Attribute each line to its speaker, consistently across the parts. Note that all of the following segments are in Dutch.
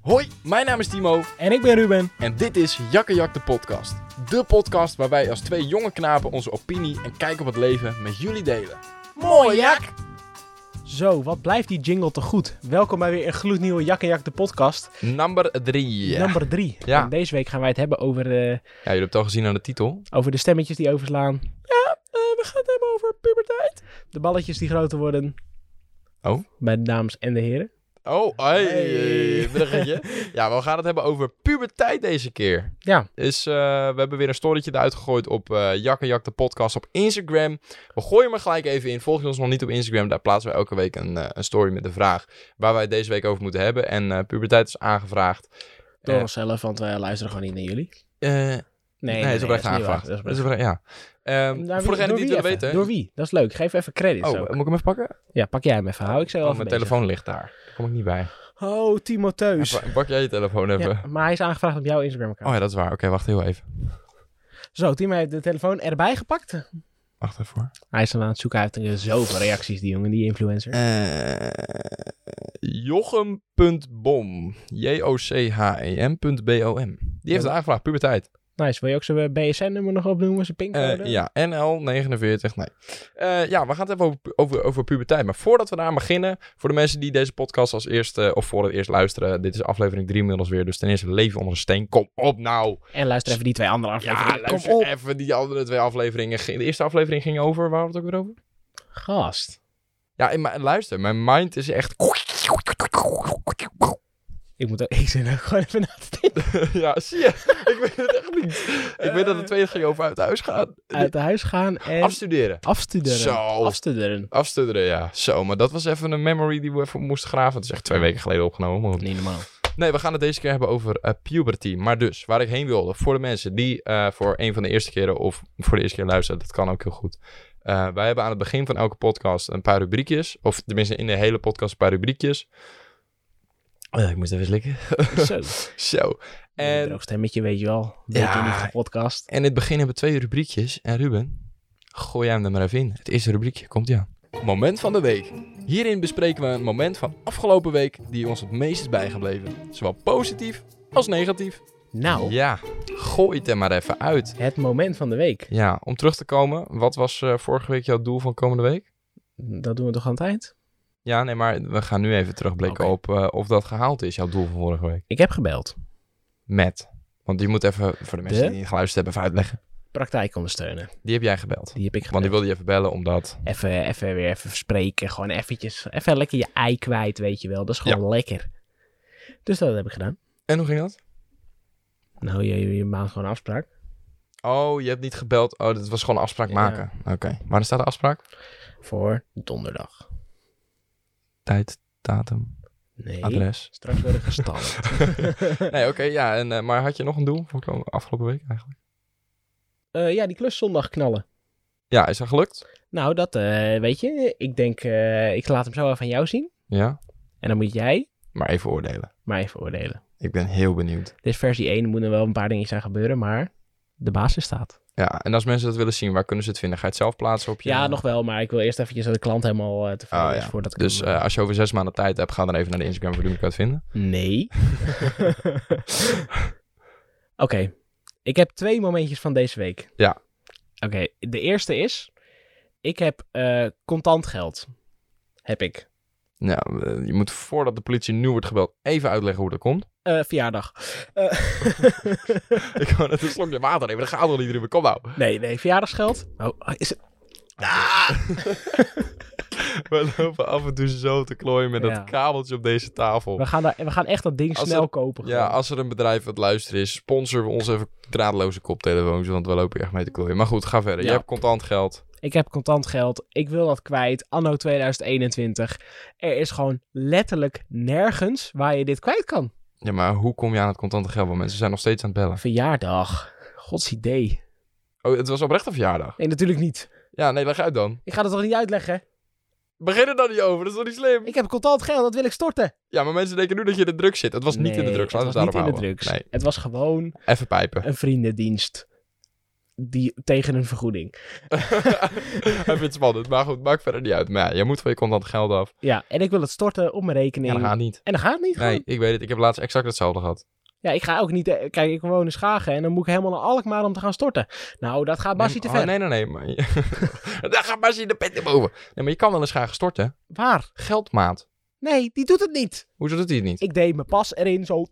Speaker 1: Hoi, mijn naam is Timo
Speaker 2: En ik ben Ruben.
Speaker 1: en dit is Jakkejak de podcast. De podcast waar wij als twee jonge knapen onze opinie en kijk op het leven met jullie delen.
Speaker 2: Mooi, Jak! Zo, wat blijft die jingle te goed. Welkom bij weer een gloednieuwe Jak en Jak de podcast.
Speaker 1: Nummer 3. Ja,
Speaker 2: Nummer drie.
Speaker 1: Ja.
Speaker 2: En deze week gaan wij het hebben over, eh,
Speaker 1: jullie hebben het al gezien aan de titel.
Speaker 2: over de stemmetjes die overslaan. Ja, eh, we gaan het hebben over puberteit. De balletjes die groter worden.
Speaker 1: Oh.
Speaker 2: Bij de dames en de heren.
Speaker 1: Oh, hey,
Speaker 2: Hey.
Speaker 1: bruggetje. ja, we gaan het hebben over puberteit deze keer.
Speaker 2: Ja.
Speaker 1: Dus eh, we hebben weer een storytje eruit gegooid op eh Jak en Jak de podcast op Instagram. We gooien hem er gelijk even in. Volg je ons nog niet op Instagram. Daar plaatsen we elke week een, eh, een story met de vraag waar wij het deze week over moeten hebben. En eh, puberteit is aangevraagd.
Speaker 2: Door
Speaker 1: Eh.
Speaker 2: onszelf, want wij luisteren gewoon niet naar jullie.
Speaker 1: Eh,
Speaker 2: Nee,
Speaker 1: nee, dat is oprecht
Speaker 2: niet waar.
Speaker 1: aangevraagd.
Speaker 2: Dat is
Speaker 1: Dat is
Speaker 2: oprecht.
Speaker 1: oprecht, ja. Ehm,
Speaker 2: Naar wie-
Speaker 1: voor degenen
Speaker 2: door
Speaker 1: die het
Speaker 2: wie
Speaker 1: willen
Speaker 2: even?
Speaker 1: weten.
Speaker 2: Door wie? Dat is leuk. Geef even credits
Speaker 1: Oh,
Speaker 2: ook.
Speaker 1: moet ik hem even pakken?
Speaker 2: Ja, pak jij hem even. Hou ik zo
Speaker 1: Oh,
Speaker 2: even
Speaker 1: mijn
Speaker 2: bezig.
Speaker 1: telefoon ligt daar. Daar kom ik niet bij.
Speaker 2: Oh, Timotheus.
Speaker 1: Ja, pa- pak jij je telefoon even.
Speaker 2: Ja, maar hij is aangevraagd op jouw Instagram-account.
Speaker 1: Oh ja, dat is waar. Oké, wacht heel even.
Speaker 2: Zo, Timo heeft de telefoon erbij gepakt.
Speaker 1: Wacht even hoor.
Speaker 2: Hij is dan aan het zoeken. Hij heeft er dus zoveel reacties, die jongen, die influencer.
Speaker 1: Eh, Jochem.bom. E J-O-C-H-E-M.B-O-M. Die heeft het aangevraagd, puberteit.
Speaker 2: Nice. Wil je ook eh, zijn BSN-nummer nog opnoemen? Zijn
Speaker 1: Eh,
Speaker 2: pincode?
Speaker 1: ja, NL49, nee. Eh, ja, we gaan het hebben over, pu- over, over puberteit. Maar voordat we daar beginnen, voor de mensen die deze podcast als eerste of voor het eerst luisteren, dit is aflevering 3 inmiddels weer. Dus ten eerste, leven onder een steen. Kom op nou!
Speaker 2: En luister even die twee andere afleveringen.
Speaker 1: Ja, luister even die andere twee afleveringen. Ging- De eerste aflevering ging over, waar hadden we het ook weer over?
Speaker 2: Gast.
Speaker 1: Ja, in mijn- luister, mijn mind is echt...
Speaker 2: Ik moet ook... Ik zit ook gewoon even na te denken.
Speaker 1: ja, zie je? Ik weet het echt niet. Ik weet dat het tweede ging over uit huis gaan.
Speaker 2: Uit huis gaan en
Speaker 1: Afstuderen.
Speaker 2: afstuderen.
Speaker 1: Zo.
Speaker 2: Afstuderen.
Speaker 1: Afstuderen, ja. Zo, maar dat was even een memory die we even moesten graven. Het is echt twee weken geleden opgenomen. maar-
Speaker 2: Niet normaal.
Speaker 1: Nee, we gaan het deze keer hebben over eh, puberty. Maar dus, waar ik heen wilde, voor de mensen die eh, voor een van de eerste keren of voor de eerste keer luisteren, dat kan ook heel goed. Eh, wij hebben aan het begin van elke podcast een paar rubriekjes. Of tenminste, in de hele podcast een paar rubriekjes. Eh, ik moest even slikken.
Speaker 2: Zo.
Speaker 1: Zo.
Speaker 2: En...
Speaker 1: En,
Speaker 2: Droog stemmetje, weet je wel. Een beetje
Speaker 1: Ja.
Speaker 2: in die podcast.
Speaker 1: en in het begin hebben we twee rubriekjes. En Ruben, gooi jij hem er maar even in. Het eerste rubriekje komt ja. Moment van de week. Hierin bespreken we een moment van afgelopen week die ons het meest is bijgebleven. Zowel positief als negatief.
Speaker 2: Nou,
Speaker 1: Ja, gooi het er maar even uit.
Speaker 2: het moment van de week.
Speaker 1: Ja, om terug te komen, wat was eh, vorige week jouw doel van komende week?
Speaker 2: Dat doen we toch aan het eind?
Speaker 1: Ja, nee, maar we gaan nu even terugblikken op
Speaker 2: Oké.
Speaker 1: eh, of dat gehaald is, jouw doel van vorige week.
Speaker 2: Ik heb gebeld.
Speaker 1: Met. Want je moet even, voor de mensen
Speaker 2: De?
Speaker 1: die niet geluisterd hebben, even uitleggen.
Speaker 2: Praktijk ondersteunen.
Speaker 1: Die heb jij gebeld.
Speaker 2: Die heb ik
Speaker 1: Want
Speaker 2: gebeld.
Speaker 1: die wilde je even bellen, omdat...
Speaker 2: Even, even weer even verspreken. Gewoon eventjes. Even lekker je ei kwijt, weet je wel. Dat is gewoon lekker. Dus dat heb ik gedaan.
Speaker 1: En hoe ging dat?
Speaker 2: Nou, je, je, je maakt gewoon een afspraak.
Speaker 1: Oh, je hebt niet gebeld. Oh, dat was gewoon een afspraak
Speaker 2: Ja.
Speaker 1: maken. Oké. Waar staat de afspraak?
Speaker 2: Voor donderdag.
Speaker 1: Tijd, datum,
Speaker 2: Nee.
Speaker 1: adres.
Speaker 2: Straks worden gestalkt.
Speaker 1: Nee, oké, ja. En, eh, maar had je nog een doel voor kom- afgelopen week eigenlijk?
Speaker 2: Eh, ja, die klus zondag knallen.
Speaker 1: Ja, is dat gelukt?
Speaker 2: Nou, dat eh, weet je. Ik denk, eh, ik laat hem zo even aan jou zien.
Speaker 1: Ja.
Speaker 2: En dan moet jij
Speaker 1: Maar even oordelen.
Speaker 2: mij even oordelen.
Speaker 1: Ik ben heel benieuwd.
Speaker 2: Dit is versie 1. Er moeten wel een paar dingetjes aan gebeuren, maar de basis staat.
Speaker 1: Ja, en als mensen dat willen zien, waar kunnen ze het vinden? Ga je het zelf plaatsen op je...
Speaker 2: Ja, nog wel, maar ik wil eerst eventjes dat de klant helemaal eh, tevreden
Speaker 1: Oh, ja.
Speaker 2: is voordat ik
Speaker 1: Dus
Speaker 2: hem,
Speaker 1: eh, als je over zes maanden tijd hebt, ga dan even naar de Instagram voor Ruben kan het vinden.
Speaker 2: Nee. Oké. Ik heb twee momentjes van deze week.
Speaker 1: Ja.
Speaker 2: Oké. De eerste is... Ik heb eh, contant geld. Heb ik.
Speaker 1: Nou, eh, je moet voordat de politie nu wordt gebeld even uitleggen hoe dat komt.
Speaker 2: Eh, verjaardag. Eh,
Speaker 1: Ik ga net een slokje water nemen, dat gaat wel niet, Ruben. Kom nou.
Speaker 2: nee, nee. Verjaardagsgeld. Oh, is het...
Speaker 1: We lopen af en toe zo te klooien met
Speaker 2: Ja.
Speaker 1: dat kabeltje op deze tafel.
Speaker 2: We, gaan daar, we gaan echt dat ding
Speaker 1: Als
Speaker 2: snel
Speaker 1: het-
Speaker 2: kopen.
Speaker 1: Ja,
Speaker 2: gewoon.
Speaker 1: als er een bedrijf wat luisteren is, sponsoren we ons even draadloze koptelefoons, want we lopen hier echt mee te klooien. Maar goed, ga verder. Je
Speaker 2: Ja.
Speaker 1: hebt contant geld.
Speaker 2: Ik heb contant geld. Ik wil dat kwijt. Anno 2021. Er is gewoon letterlijk nergens waar je dit kwijt kan.
Speaker 1: Ja, maar hoe kom je aan het contante geld? Want mensen zijn nog steeds aan het bellen.
Speaker 2: Verjaardag. Gods idee.
Speaker 1: Oh, het was oprecht een verjaardag.
Speaker 2: Nee, natuurlijk niet.
Speaker 1: Ja, nee, leg uit dan.
Speaker 2: Ik ga dat toch niet uitleggen?
Speaker 1: Begin er dan niet over, dat is toch niet slim?
Speaker 2: Ik heb contant geld, dat wil ik storten.
Speaker 1: Ja, maar mensen denken nu dat je in de druk zit. Het was niet in de drugs,
Speaker 2: het
Speaker 1: laten we het
Speaker 2: was niet in
Speaker 1: daarop
Speaker 2: de
Speaker 1: houden.
Speaker 2: drugs. Het was gewoon
Speaker 1: Nee, even pijpen.
Speaker 2: een vriendendienst. die, tegen een vergoeding.
Speaker 1: Hij vindt het spannend, maar goed, maakt verder niet uit. Maar ja, je moet van je contant geld af.
Speaker 2: Ja, en ik wil het storten op mijn rekening.
Speaker 1: Ja, dat gaat niet.
Speaker 2: En dan gaat het niet gewoon.
Speaker 1: Nee, ik weet het. Ik heb laatst exact hetzelfde gehad.
Speaker 2: Ja, ik ga ook niet... eh, Kijk, ik woon in Schagen en dan moet ik helemaal naar Alkmaar om te gaan storten. Nou, dat gaat Basie
Speaker 1: nee, oh,
Speaker 2: te ver.
Speaker 1: Nee, nee, nee. Maar... je- Daar gaat Basie de pet in boven. Nee, maar je kan wel eens graag storten.
Speaker 2: Waar?
Speaker 1: Geldmaat.
Speaker 2: Nee, die doet het niet.
Speaker 1: Hoezo doet hij het niet?
Speaker 2: Ik deed mijn pas erin, zo...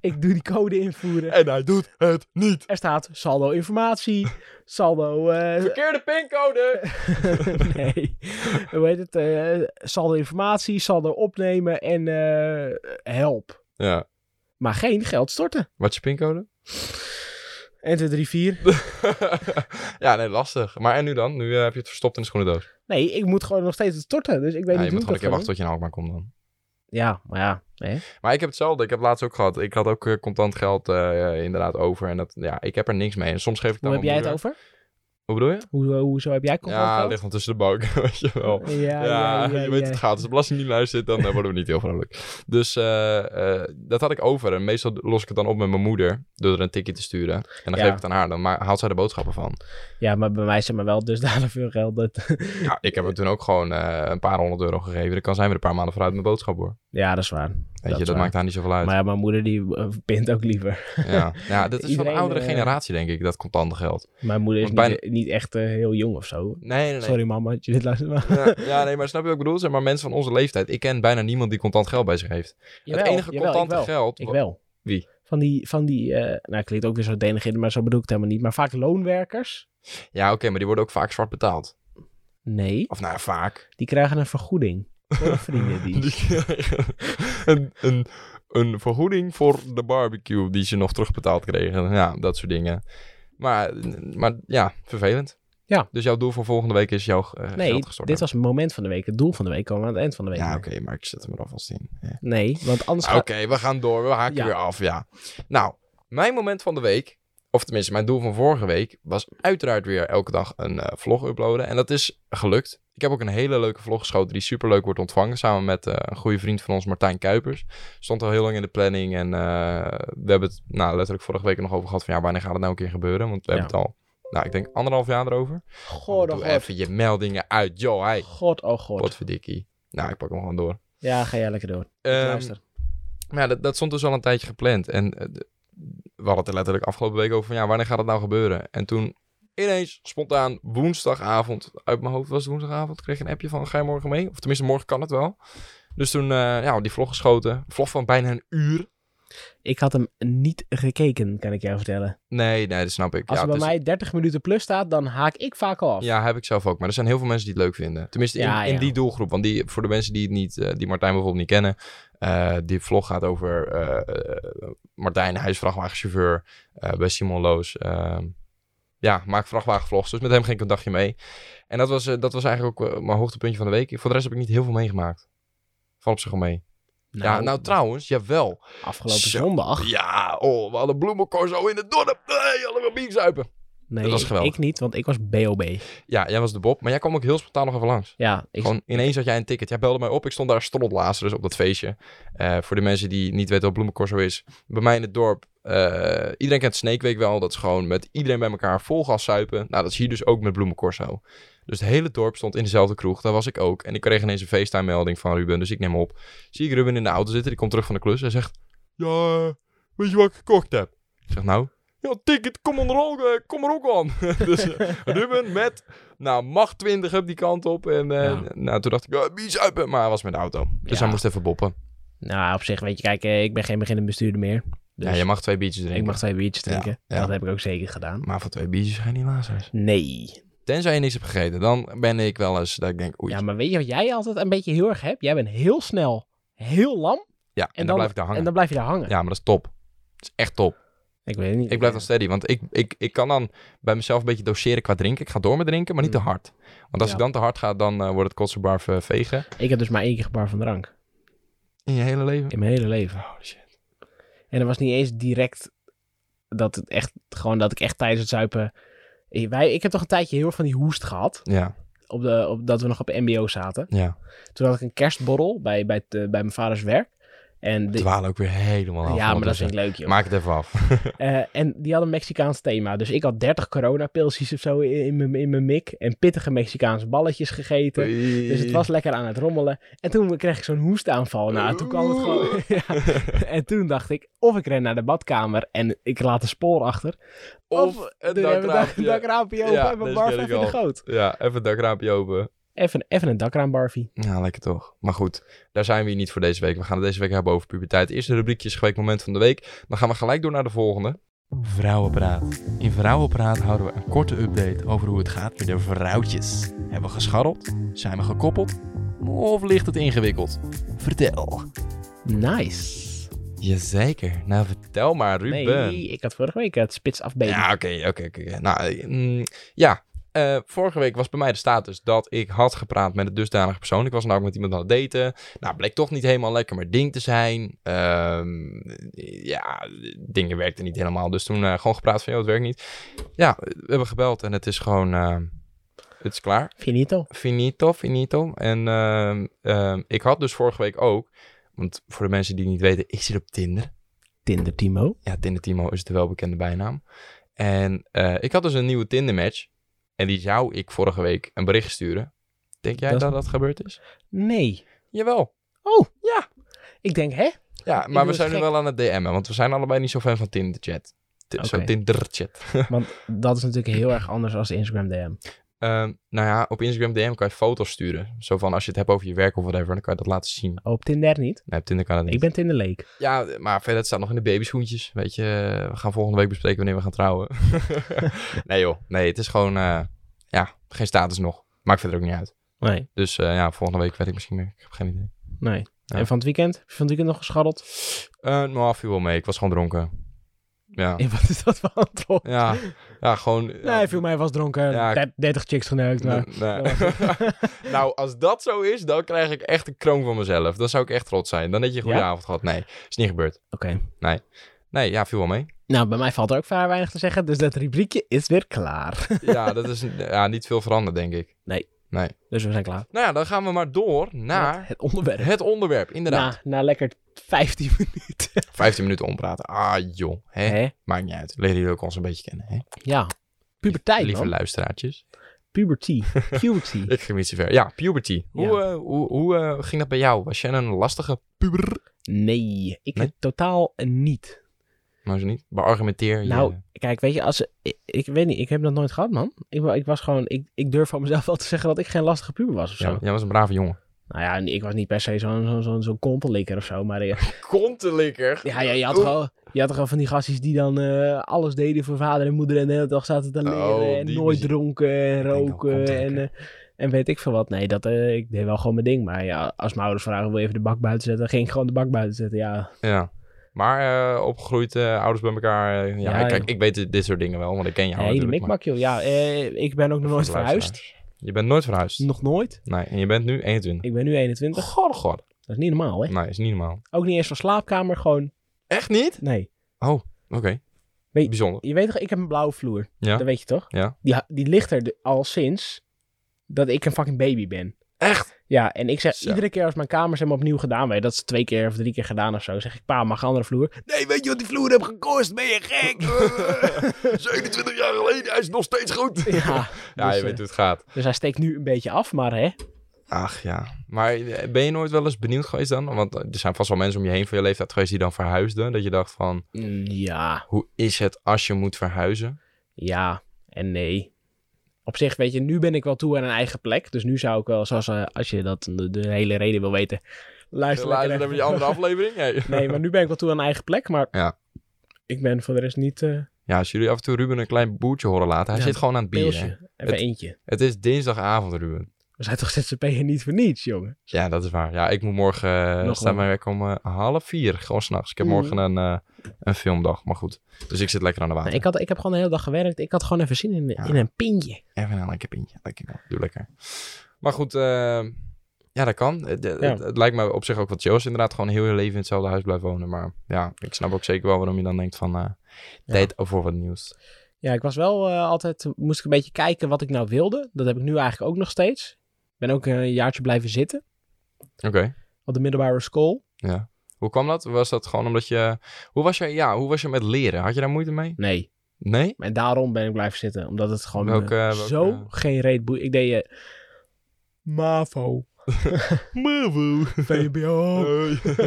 Speaker 2: ik doe die code invoeren.
Speaker 1: En hij doet het niet.
Speaker 2: Er staat saldo informatie, saldo... eh,
Speaker 1: Verkeerde pincode.
Speaker 2: nee. Hoe heet het? eh, saldo informatie, saldo opnemen en eh, help.
Speaker 1: Ja.
Speaker 2: Maar geen geld storten.
Speaker 1: Wat is je pincode?
Speaker 2: En 2, 3, 4.
Speaker 1: ja, nee, lastig. Maar en nu dan? Nu eh, heb je het verstopt in de schoenendoos.
Speaker 2: Nee, ik moet gewoon nog steeds het storten. Dus ik weet
Speaker 1: Ja, je moet
Speaker 2: niet hoe
Speaker 1: gewoon een
Speaker 2: ik
Speaker 1: keer
Speaker 2: dat
Speaker 1: wachten tot
Speaker 2: ga
Speaker 1: je naar Alkmaar komt dan.
Speaker 2: doen. Ja, maar ja. Hè?
Speaker 1: Maar ik heb hetzelfde. Ik heb laatst ook gehad. Ik had ook eh, contant geld eh, eh, inderdaad over. En dat, ja, ik heb er niks mee. En soms geef ik dan
Speaker 2: Hoe heb jij het over?
Speaker 1: Hoe bedoel je?
Speaker 2: Hoe, eh, hoezo heb jij
Speaker 1: ja,
Speaker 2: contant
Speaker 1: ligt dan tussen de bank, weet je wel.
Speaker 2: geld? Ja,
Speaker 1: Ja,
Speaker 2: ja, ja,
Speaker 1: je weet
Speaker 2: ja.
Speaker 1: het gaat. Als de belasting niet luistert, dan eh, worden we niet heel vrolijk. Dus eh, eh, dat had ik over. En meestal los ik het dan op met mijn moeder door er een tikje te sturen. En dan
Speaker 2: Ja.
Speaker 1: geef ik het aan haar. Dan ma- haalt zij de boodschappen van.
Speaker 2: Ja, maar bij mij zijn maar wel dusdanig veel geld. Dat...
Speaker 1: Ja, ik heb er toen ook gewoon eh, een paar honderd euro gegeven. Dan kan zij weer een paar maanden vooruit met boodschap hoor.
Speaker 2: Ja, dat is waar. Weet
Speaker 1: Weet je, dat maakt haar niet zoveel uit.
Speaker 2: Maar ja, mijn moeder die eh, pint ook liever.
Speaker 1: Ja. ja, dat is van
Speaker 2: Iedereen,
Speaker 1: de oudere
Speaker 2: eh,
Speaker 1: generatie denk ik, dat contante geld.
Speaker 2: Mijn moeder is
Speaker 1: Want
Speaker 2: niet, niet echt eh, heel jong of zo.
Speaker 1: Nee, nee, nee.
Speaker 2: Sorry mama, dat je dit luistert maar.
Speaker 1: Ja, ja, nee, maar snap je wat ik bedoel? Zeg maar mensen van onze leeftijd. Ik ken bijna niemand die contant geld bij zich heeft.
Speaker 2: Jawel,
Speaker 1: het enige
Speaker 2: jawel, ik
Speaker 1: contante
Speaker 2: wel.
Speaker 1: geld...
Speaker 2: Ik wel.
Speaker 1: Wie?
Speaker 2: Van die, van die eh, nou klinkt ook weer zo denigrerend, maar zo bedoel ik het helemaal niet. Maar vaak loonwerkers?
Speaker 1: Ja, oké, maar die worden ook vaak zwart betaald.
Speaker 2: Nee,
Speaker 1: Of nou ja, vaak.
Speaker 2: die krijgen een vergoeding. Voor een vriendendienst.
Speaker 1: Die kregen een, een, een vergoeding voor de barbecue die ze nog terugbetaald kregen. Ja, dat soort dingen. Maar, maar ja, vervelend.
Speaker 2: Ja.
Speaker 1: Dus jouw doel voor volgende week is jouw eh,
Speaker 2: Nee,
Speaker 1: geld gestort.
Speaker 2: dit was het moment van de week. Het doel van de week komen we aan het eind van de week.
Speaker 1: Ja, oké, maar ik zet hem er alvast in. Ja.
Speaker 2: Nee, want anders
Speaker 1: Oké,
Speaker 2: gaat...
Speaker 1: we gaan door. We haken
Speaker 2: Ja.
Speaker 1: weer af, ja. Nou, mijn moment van de week, of tenminste mijn doel van vorige week, was uiteraard weer elke dag een eh, vlog uploaden. En dat is gelukt. Ik heb ook een hele leuke vlog geschoten die superleuk wordt ontvangen. Samen met eh, een goede vriend van ons, Martijn Kuipers. Stond al heel lang in de planning en eh, we hebben het nou, letterlijk vorige week er nog over gehad van ja, wanneer gaat het nou een keer gebeuren? Want we
Speaker 2: Ja.
Speaker 1: hebben het al, nou, ik denk anderhalf jaar erover.
Speaker 2: God, oh
Speaker 1: Doe
Speaker 2: god.
Speaker 1: even je meldingen uit, joh, hey.
Speaker 2: God, oh god.
Speaker 1: Potverdikkie. Nou, ik pak hem gewoon door.
Speaker 2: Ja, ga jij lekker door. Ik
Speaker 1: Ehm,
Speaker 2: luister.
Speaker 1: maar ja, dat, dat stond dus al een tijdje gepland. En eh, de- we hadden het er letterlijk afgelopen week over van ja, wanneer gaat het nou gebeuren? En toen ineens spontaan woensdagavond, uit mijn hoofd was het woensdagavond, kreeg ik een appje van ga je morgen mee? Of tenminste, morgen kan het wel. Dus toen, eh ja, die vlog geschoten. Vlog van bijna een uur.
Speaker 2: Ik had hem niet gekeken, kan ik jou vertellen.
Speaker 1: Nee, nee, dat snap ik.
Speaker 2: Als
Speaker 1: ja,
Speaker 2: er bij
Speaker 1: het is-
Speaker 2: mij 30 minuten plus staat, dan haak ik vaak al af.
Speaker 1: ja, heb ik zelf ook. Maar er zijn heel veel mensen die het leuk vinden. Tenminste, in,
Speaker 2: Ja, ja.
Speaker 1: in die doelgroep. Want die, voor de mensen die het niet, eh, die Martijn bijvoorbeeld niet kennen. eh, die vlog gaat over eh, eh, Martijn, hij is vrachtwagenchauffeur eh, bij Simon Loos. Ehm, ja, maakt vrachtwagenvlogs. Dus met hem ging ik een dagje mee. En dat was, eh, dat was eigenlijk ook eh, mijn hoogtepuntje van de week. Voor de rest heb ik niet heel veel meegemaakt. Valt op zich wel mee. ja, nou trouwens, jawel.
Speaker 2: Afgelopen
Speaker 1: Zo.
Speaker 2: zondag.
Speaker 1: Ja, oh, we hadden bloemencorso in het dorp. Nee, allemaal bier zuipen.
Speaker 2: Nee,
Speaker 1: dat was geweldig.
Speaker 2: ik niet, want ik was BOB.
Speaker 1: Ja, jij was de Bob. Maar jij kwam ook heel spontaan nog even langs.
Speaker 2: Ja, ik,
Speaker 1: Gewoon ineens had jij een ticket. Jij belde mij op. Ik stond daar strotlazers dus op dat feestje. Eh, voor de mensen die niet weten wat Bloemencorso is. Bij mij in het dorp. eh, iedereen kent Snake Week wel. Dat is gewoon met iedereen bij elkaar vol gas zuipen. Nou, dat is hier dus ook met Bloemencorso. Dus het hele dorp stond in dezelfde kroeg. Daar was ik ook. En ik kreeg ineens een FaceTime melding van Ruben. Dus ik neem op. Zie ik Ruben in de auto zitten. Die komt terug van de klus. Hij zegt... Ja, weet je wat ik gekocht heb? Ik zeg nou... Ja, ticket, kom, onder, eh, kom er ook aan. dus eh, Ruben met nou, macht 20 op die kant op. En eh,
Speaker 2: Ja.
Speaker 1: nou, toen dacht ik, ja, wie zuipen? Maar hij was met de auto. Dus
Speaker 2: Ja.
Speaker 1: hij moest even boppen.
Speaker 2: nou, op zich, weet je, kijk, eh, ik ben geen beginnend bestuurder meer. Dus
Speaker 1: Ja, je mag twee biertjes drinken.
Speaker 2: ik mag twee biertjes drinken.
Speaker 1: Ja, ja.
Speaker 2: Dat heb ik ook zeker gedaan.
Speaker 1: Maar voor twee biertjes ga je niet lazers.
Speaker 2: Nee.
Speaker 1: Tenzij je niks hebt gegeten, dan ben ik wel eens dat ik denk, oei.
Speaker 2: Ja,
Speaker 1: Ja,
Speaker 2: maar weet je wat jij altijd een beetje heel erg hebt? Jij bent heel snel, heel lam.
Speaker 1: en, dan, blijf ik daar hangen.
Speaker 2: En dan blijf je daar hangen.
Speaker 1: Ja, maar dat is top. Dat is echt top.
Speaker 2: Ik weet het niet.
Speaker 1: Ik blijf dan steady, want ik, ik, ik kan dan bij mezelf een beetje doseren qua drinken. Ik ga door met drinken, maar niet te
Speaker 2: Mm.
Speaker 1: hard. Want als
Speaker 2: Ja.
Speaker 1: ik dan te hard ga, dan eh, wordt het kotsenbarf eh, vegen.
Speaker 2: Ik heb dus maar één keer gebar van drank.
Speaker 1: In je hele leven.
Speaker 2: In mijn hele leven.
Speaker 1: Oh, shit.
Speaker 2: En dat was niet eens direct dat het echt, gewoon dat ik echt tijdens het zuipen... Eh, Wij, ik heb toch een tijdje heel erg van die hoest gehad.
Speaker 1: Ja,
Speaker 2: Op de, op, dat we nog op mbo zaten.
Speaker 1: ja.
Speaker 2: Toen had ik een kerstborrel bij, bij, het, eh, bij mijn vaders werk. En
Speaker 1: We
Speaker 2: de,
Speaker 1: dwalen ook weer helemaal af.
Speaker 2: ja,
Speaker 1: want
Speaker 2: maar dat
Speaker 1: dus,
Speaker 2: vind ik
Speaker 1: eh,
Speaker 2: leuk, joh.
Speaker 1: Maak het even af.
Speaker 2: Eh, en die hadden een Mexicaans thema. Dus ik had 30 coronapilsjes of zo in in mijn in mijn mik. En pittige Mexicaanse balletjes gegeten. Dus het was lekker aan het rommelen. En toen kreeg ik zo'n hoestaanval. Nou, toen kwam het gewoon... ja. En toen dacht ik, of ik ren naar de badkamer en ik laat een spoor achter.
Speaker 1: Of een
Speaker 2: doen we
Speaker 1: dakraampje.
Speaker 2: Een dakraampje open
Speaker 1: Ja,
Speaker 2: en mijn
Speaker 1: deze
Speaker 2: barf
Speaker 1: ken ik
Speaker 2: even in de
Speaker 1: al.
Speaker 2: goot.
Speaker 1: Ja, even het dakraampje open.
Speaker 2: Even, even een dakraam, Barfie.
Speaker 1: Ja, lekker toch. Maar goed, daar zijn we hier niet voor deze week. We gaan het deze week hebben over puberteit. Eerste rubriekje is geweest moment van de week. Dan gaan we gelijk door naar de volgende. Vrouwenpraat. In Vrouwenpraat houden we een korte update over hoe het gaat met de vrouwtjes. Hebben we gescharreld? Zijn we gekoppeld? Of ligt het ingewikkeld? Vertel.
Speaker 2: Nice.
Speaker 1: Jazeker. Nou, vertel maar, Ruben.
Speaker 2: Nee, ik had vorige week het spits afbeten.
Speaker 1: Ja, oké, oké, oké. oké. Nou, eh, mm, ja. Eh, vorige week was bij mij de status dat ik had gepraat met een dusdanige persoon. Ik was nou ook met iemand aan het daten. Nou, bleek toch niet helemaal lekker mijn ding te zijn. Ehm, ja, dingen werkten niet helemaal. Dus toen eh, gewoon gepraat van, joh, het werkt niet. Ja, we hebben gebeld en het is gewoon, eh, het is klaar
Speaker 2: Finito.
Speaker 1: finito, finito. En ehm, ehm, ik had dus vorige week ook, want voor de mensen die niet weten, ik zit op Tinder
Speaker 2: Tinder Timo.
Speaker 1: ja, Tinder Timo is de welbekende bijnaam. En eh, ik had dus een nieuwe Tinder match. En die zou ik vorige week een bericht sturen. Denk jij
Speaker 2: Dat
Speaker 1: dat
Speaker 2: is-
Speaker 1: dat, gebeurd is?
Speaker 2: Nee.
Speaker 1: Jawel.
Speaker 2: Oh.
Speaker 1: Ja.
Speaker 2: Ik denk, hè?
Speaker 1: Ja,
Speaker 2: bedoel,
Speaker 1: maar we
Speaker 2: is
Speaker 1: zijn nu
Speaker 2: gek.
Speaker 1: wel aan het DM'en. Want we zijn allebei niet zo fan van Tinder chat. Ti- Zo
Speaker 2: Oké.
Speaker 1: Tinder chat.
Speaker 2: Want dat is natuurlijk heel erg anders als de Instagram DM.
Speaker 1: Ehm, nou ja, op Instagram DM kan je foto's sturen. Zo van als je het hebt over je werk of whatever. Dan kan je dat laten zien.
Speaker 2: Oh, Op Tinder niet.
Speaker 1: Nee, op Tinder kan dat niet.
Speaker 2: Ik ben Tinder leek.
Speaker 1: Ja, maar verder het staat nog in de babyschoentjes. Weet je, eh, we gaan volgende week bespreken wanneer we gaan trouwen. nee joh, nee, het is gewoon, eh, ja, geen status nog. Maakt verder ook niet uit.
Speaker 2: Nee,
Speaker 1: Dus eh, ja, volgende week weet ik misschien meer. Ik heb geen idee.
Speaker 2: nee.
Speaker 1: Ja.
Speaker 2: En van het weekend? Heb je van het weekend nog gescharreld?
Speaker 1: Eh nou, viel wel mee. Ik was gewoon dronken. Ja,
Speaker 2: En wat is dat voor antwoord?
Speaker 1: Ah. ja, ja gewoon...
Speaker 2: Nee, viel mij was dronken.
Speaker 1: Ja, ik-
Speaker 2: 30 chicks geneukt, maar...
Speaker 1: Nee.
Speaker 2: Dat was
Speaker 1: nou, als dat zo is, dan krijg ik echt een kroon van mezelf. Dan zou ik echt trots zijn. Dan heb je een goede
Speaker 2: Ja?
Speaker 1: avond gehad. Nee, is niet gebeurd.
Speaker 2: Oké.
Speaker 1: Nee, ja, viel wel mee.
Speaker 2: Nou, bij mij valt er ook vrij weinig te zeggen, dus dat rubriekje is weer klaar.
Speaker 1: ja, dat is ja, niet veel veranderd, denk ik.
Speaker 2: Dus we zijn klaar.
Speaker 1: Nou ja, dan gaan we maar door
Speaker 2: Met
Speaker 1: naar
Speaker 2: het onderwerp.
Speaker 1: het onderwerp. Inderdaad.
Speaker 2: Na, na lekker 15 minuten.
Speaker 1: 15 minuten ompraten. Ah joh, hè?
Speaker 2: Hè?
Speaker 1: maakt niet uit. Leren jullie ook ons een beetje kennen. Hè?
Speaker 2: Ja. Puberteit,
Speaker 1: Lieve
Speaker 2: man.
Speaker 1: luisteraartjes.
Speaker 2: Puberty. Puberty.
Speaker 1: Ik ging niet zo ver. Ja, puberty. Hoe,
Speaker 2: Ja.
Speaker 1: eh, hoe, hoe eh, ging dat bij jou? Was jij een lastige puber?
Speaker 2: Nee, ik
Speaker 1: Nee?
Speaker 2: totaal niet.
Speaker 1: Nou, zo niet. Beargumenteer je.
Speaker 2: Nou, kijk, weet je, als, ik, ik weet niet, ik heb dat nooit gehad, man. Ik, wa- ik was gewoon, ik, ik durf van mezelf wel te zeggen dat ik geen lastige puber was of zo.
Speaker 1: Ja, jij was een brave jongen.
Speaker 2: Nou ja, ik was niet per se zo'n zo'n zo'n zo'n kontelikker of zo, maar eh,
Speaker 1: Kontelikker.
Speaker 2: ja, ja, je had gewoon... Je had gewoon van die gastjes die dan eh, alles deden voor vader en moeder en de hele dag zaten te leren
Speaker 1: Oh,
Speaker 2: en
Speaker 1: die
Speaker 2: nooit
Speaker 1: muziek.
Speaker 2: dronken en
Speaker 1: denk wel
Speaker 2: roken en,
Speaker 1: kontelikker.
Speaker 2: eh, en weet ik veel wat. Nee, dat, eh, ik deed wel gewoon mijn ding. Maar ja, als mijn ouders vragen wil je even de bak buiten zetten, ging ik gewoon de bak buiten zetten. Ja,
Speaker 1: Ja. Maar eh, opgegroeid, eh, ouders bij elkaar. eh, ja,
Speaker 2: Ja,
Speaker 1: kijk,
Speaker 2: joh.
Speaker 1: ik weet dit- dit soort dingen wel, want ik ken jou
Speaker 2: hey, de
Speaker 1: natuurlijk. maar
Speaker 2: mikmak joh. Ja, eh, ik ben ook nog nooit
Speaker 1: voor de
Speaker 2: verhuisd.
Speaker 1: luisteraars. Je bent nooit verhuisd.
Speaker 2: Nog nooit.
Speaker 1: Nee, en je bent nu 21.
Speaker 2: Ik ben nu 21.
Speaker 1: God, oh god.
Speaker 2: Dat is niet normaal, hè?
Speaker 1: Nee, is niet normaal.
Speaker 2: Ook niet eens van slaapkamer, gewoon.
Speaker 1: Echt niet?
Speaker 2: Nee.
Speaker 1: Oké.
Speaker 2: Weet-
Speaker 1: Bijzonder.
Speaker 2: Je weet toch, ik heb een blauwe vloer.
Speaker 1: Ja.
Speaker 2: Dat weet je toch?
Speaker 1: Ja.
Speaker 2: Die, ha- die ligt er de- al sinds dat ik een fucking baby ben.
Speaker 1: Echt?
Speaker 2: Ja, en ik zeg
Speaker 1: Zo.
Speaker 2: iedere keer als mijn kamers helemaal opnieuw gedaan werden, dat is twee keer of drie keer gedaan of zo, zeg ik, pa, mag een andere vloer?
Speaker 1: Nee, weet je wat die vloer heb gekost? Ben je gek? 27 Eh, jaar geleden, hij is nog steeds goed.
Speaker 2: Ja,
Speaker 1: Ja,
Speaker 2: dus,
Speaker 1: je
Speaker 2: eh,
Speaker 1: weet hoe het gaat.
Speaker 2: dus hij steekt nu een beetje af, maar hè.
Speaker 1: Ach ja. Maar eh, ben je nooit wel eens benieuwd geweest dan? Want eh, er zijn vast wel mensen om je heen van je leeftijd geweest die dan verhuisden. Dat je dacht van,
Speaker 2: mm, Ja,
Speaker 1: hoe is het als je moet verhuizen?
Speaker 2: ja en nee. Op zich, weet je, nu ben ik wel toe aan een eigen plek, dus nu zou ik wel, zoals eh, als je dat de, de hele reden wil weten, luister lekker
Speaker 1: Luister
Speaker 2: even.
Speaker 1: even die andere aflevering. Nee.
Speaker 2: Nee, maar nu ben ik wel toe aan een eigen plek, maar
Speaker 1: Ja.
Speaker 2: ik ben voor de rest niet eh
Speaker 1: Ja, als jullie af en toe Ruben een klein boertje horen laten. Hij
Speaker 2: Ja,
Speaker 1: zit gewoon aan het bier.
Speaker 2: pilsje.
Speaker 1: hè.
Speaker 2: Even
Speaker 1: Het-
Speaker 2: eentje.
Speaker 1: Het is dinsdagavond, Ruben.
Speaker 2: We zijn toch zzp'er niet voor niets, jongen?
Speaker 1: Ja, dat is waar. Ja, ik moet morgen... eh
Speaker 2: Nog
Speaker 1: staat
Speaker 2: een.
Speaker 1: mijn werk om eh, half vier. Gewoon s'nachts. Ik heb
Speaker 2: Mhm.
Speaker 1: morgen een, eh, een filmdag. Maar goed. Dus ik zit lekker aan de water.
Speaker 2: Nee, ik, had, ik heb gewoon de hele dag gewerkt. Ik had gewoon even zin in, in een pintje.
Speaker 1: Even een lekker pintje. Lekker, man. doe lekker. Maar goed, eh, ja, dat kan. Het, het-
Speaker 2: Ja.
Speaker 1: het- het lijkt me op zich ook wat chill. als je inderdaad gewoon heel je leven in hetzelfde huis blijft wonen. Maar ja, ik snap ook zeker wel waarom je dan denkt van... eh, tijd voor wat nieuws.
Speaker 2: Ja, ik was wel eh, altijd... Moest ik een beetje kijken wat ik nou wilde. Dat heb ik nu eigenlijk ook nog steeds. Ik ben ook een jaartje blijven zitten
Speaker 1: Oké,
Speaker 2: op de middelbare school.
Speaker 1: ja. Hoe kwam dat? Was dat gewoon omdat je... Hoe was je, ja, hoe was je met leren? Had je daar moeite mee?
Speaker 2: Nee.
Speaker 1: Nee?
Speaker 2: En daarom ben ik blijven zitten. Omdat het gewoon me
Speaker 1: Welke- welke-
Speaker 2: zo geen reet boeit. Ik deed eh, MAVO,
Speaker 1: Mavo.
Speaker 2: VBO.
Speaker 1: Oh.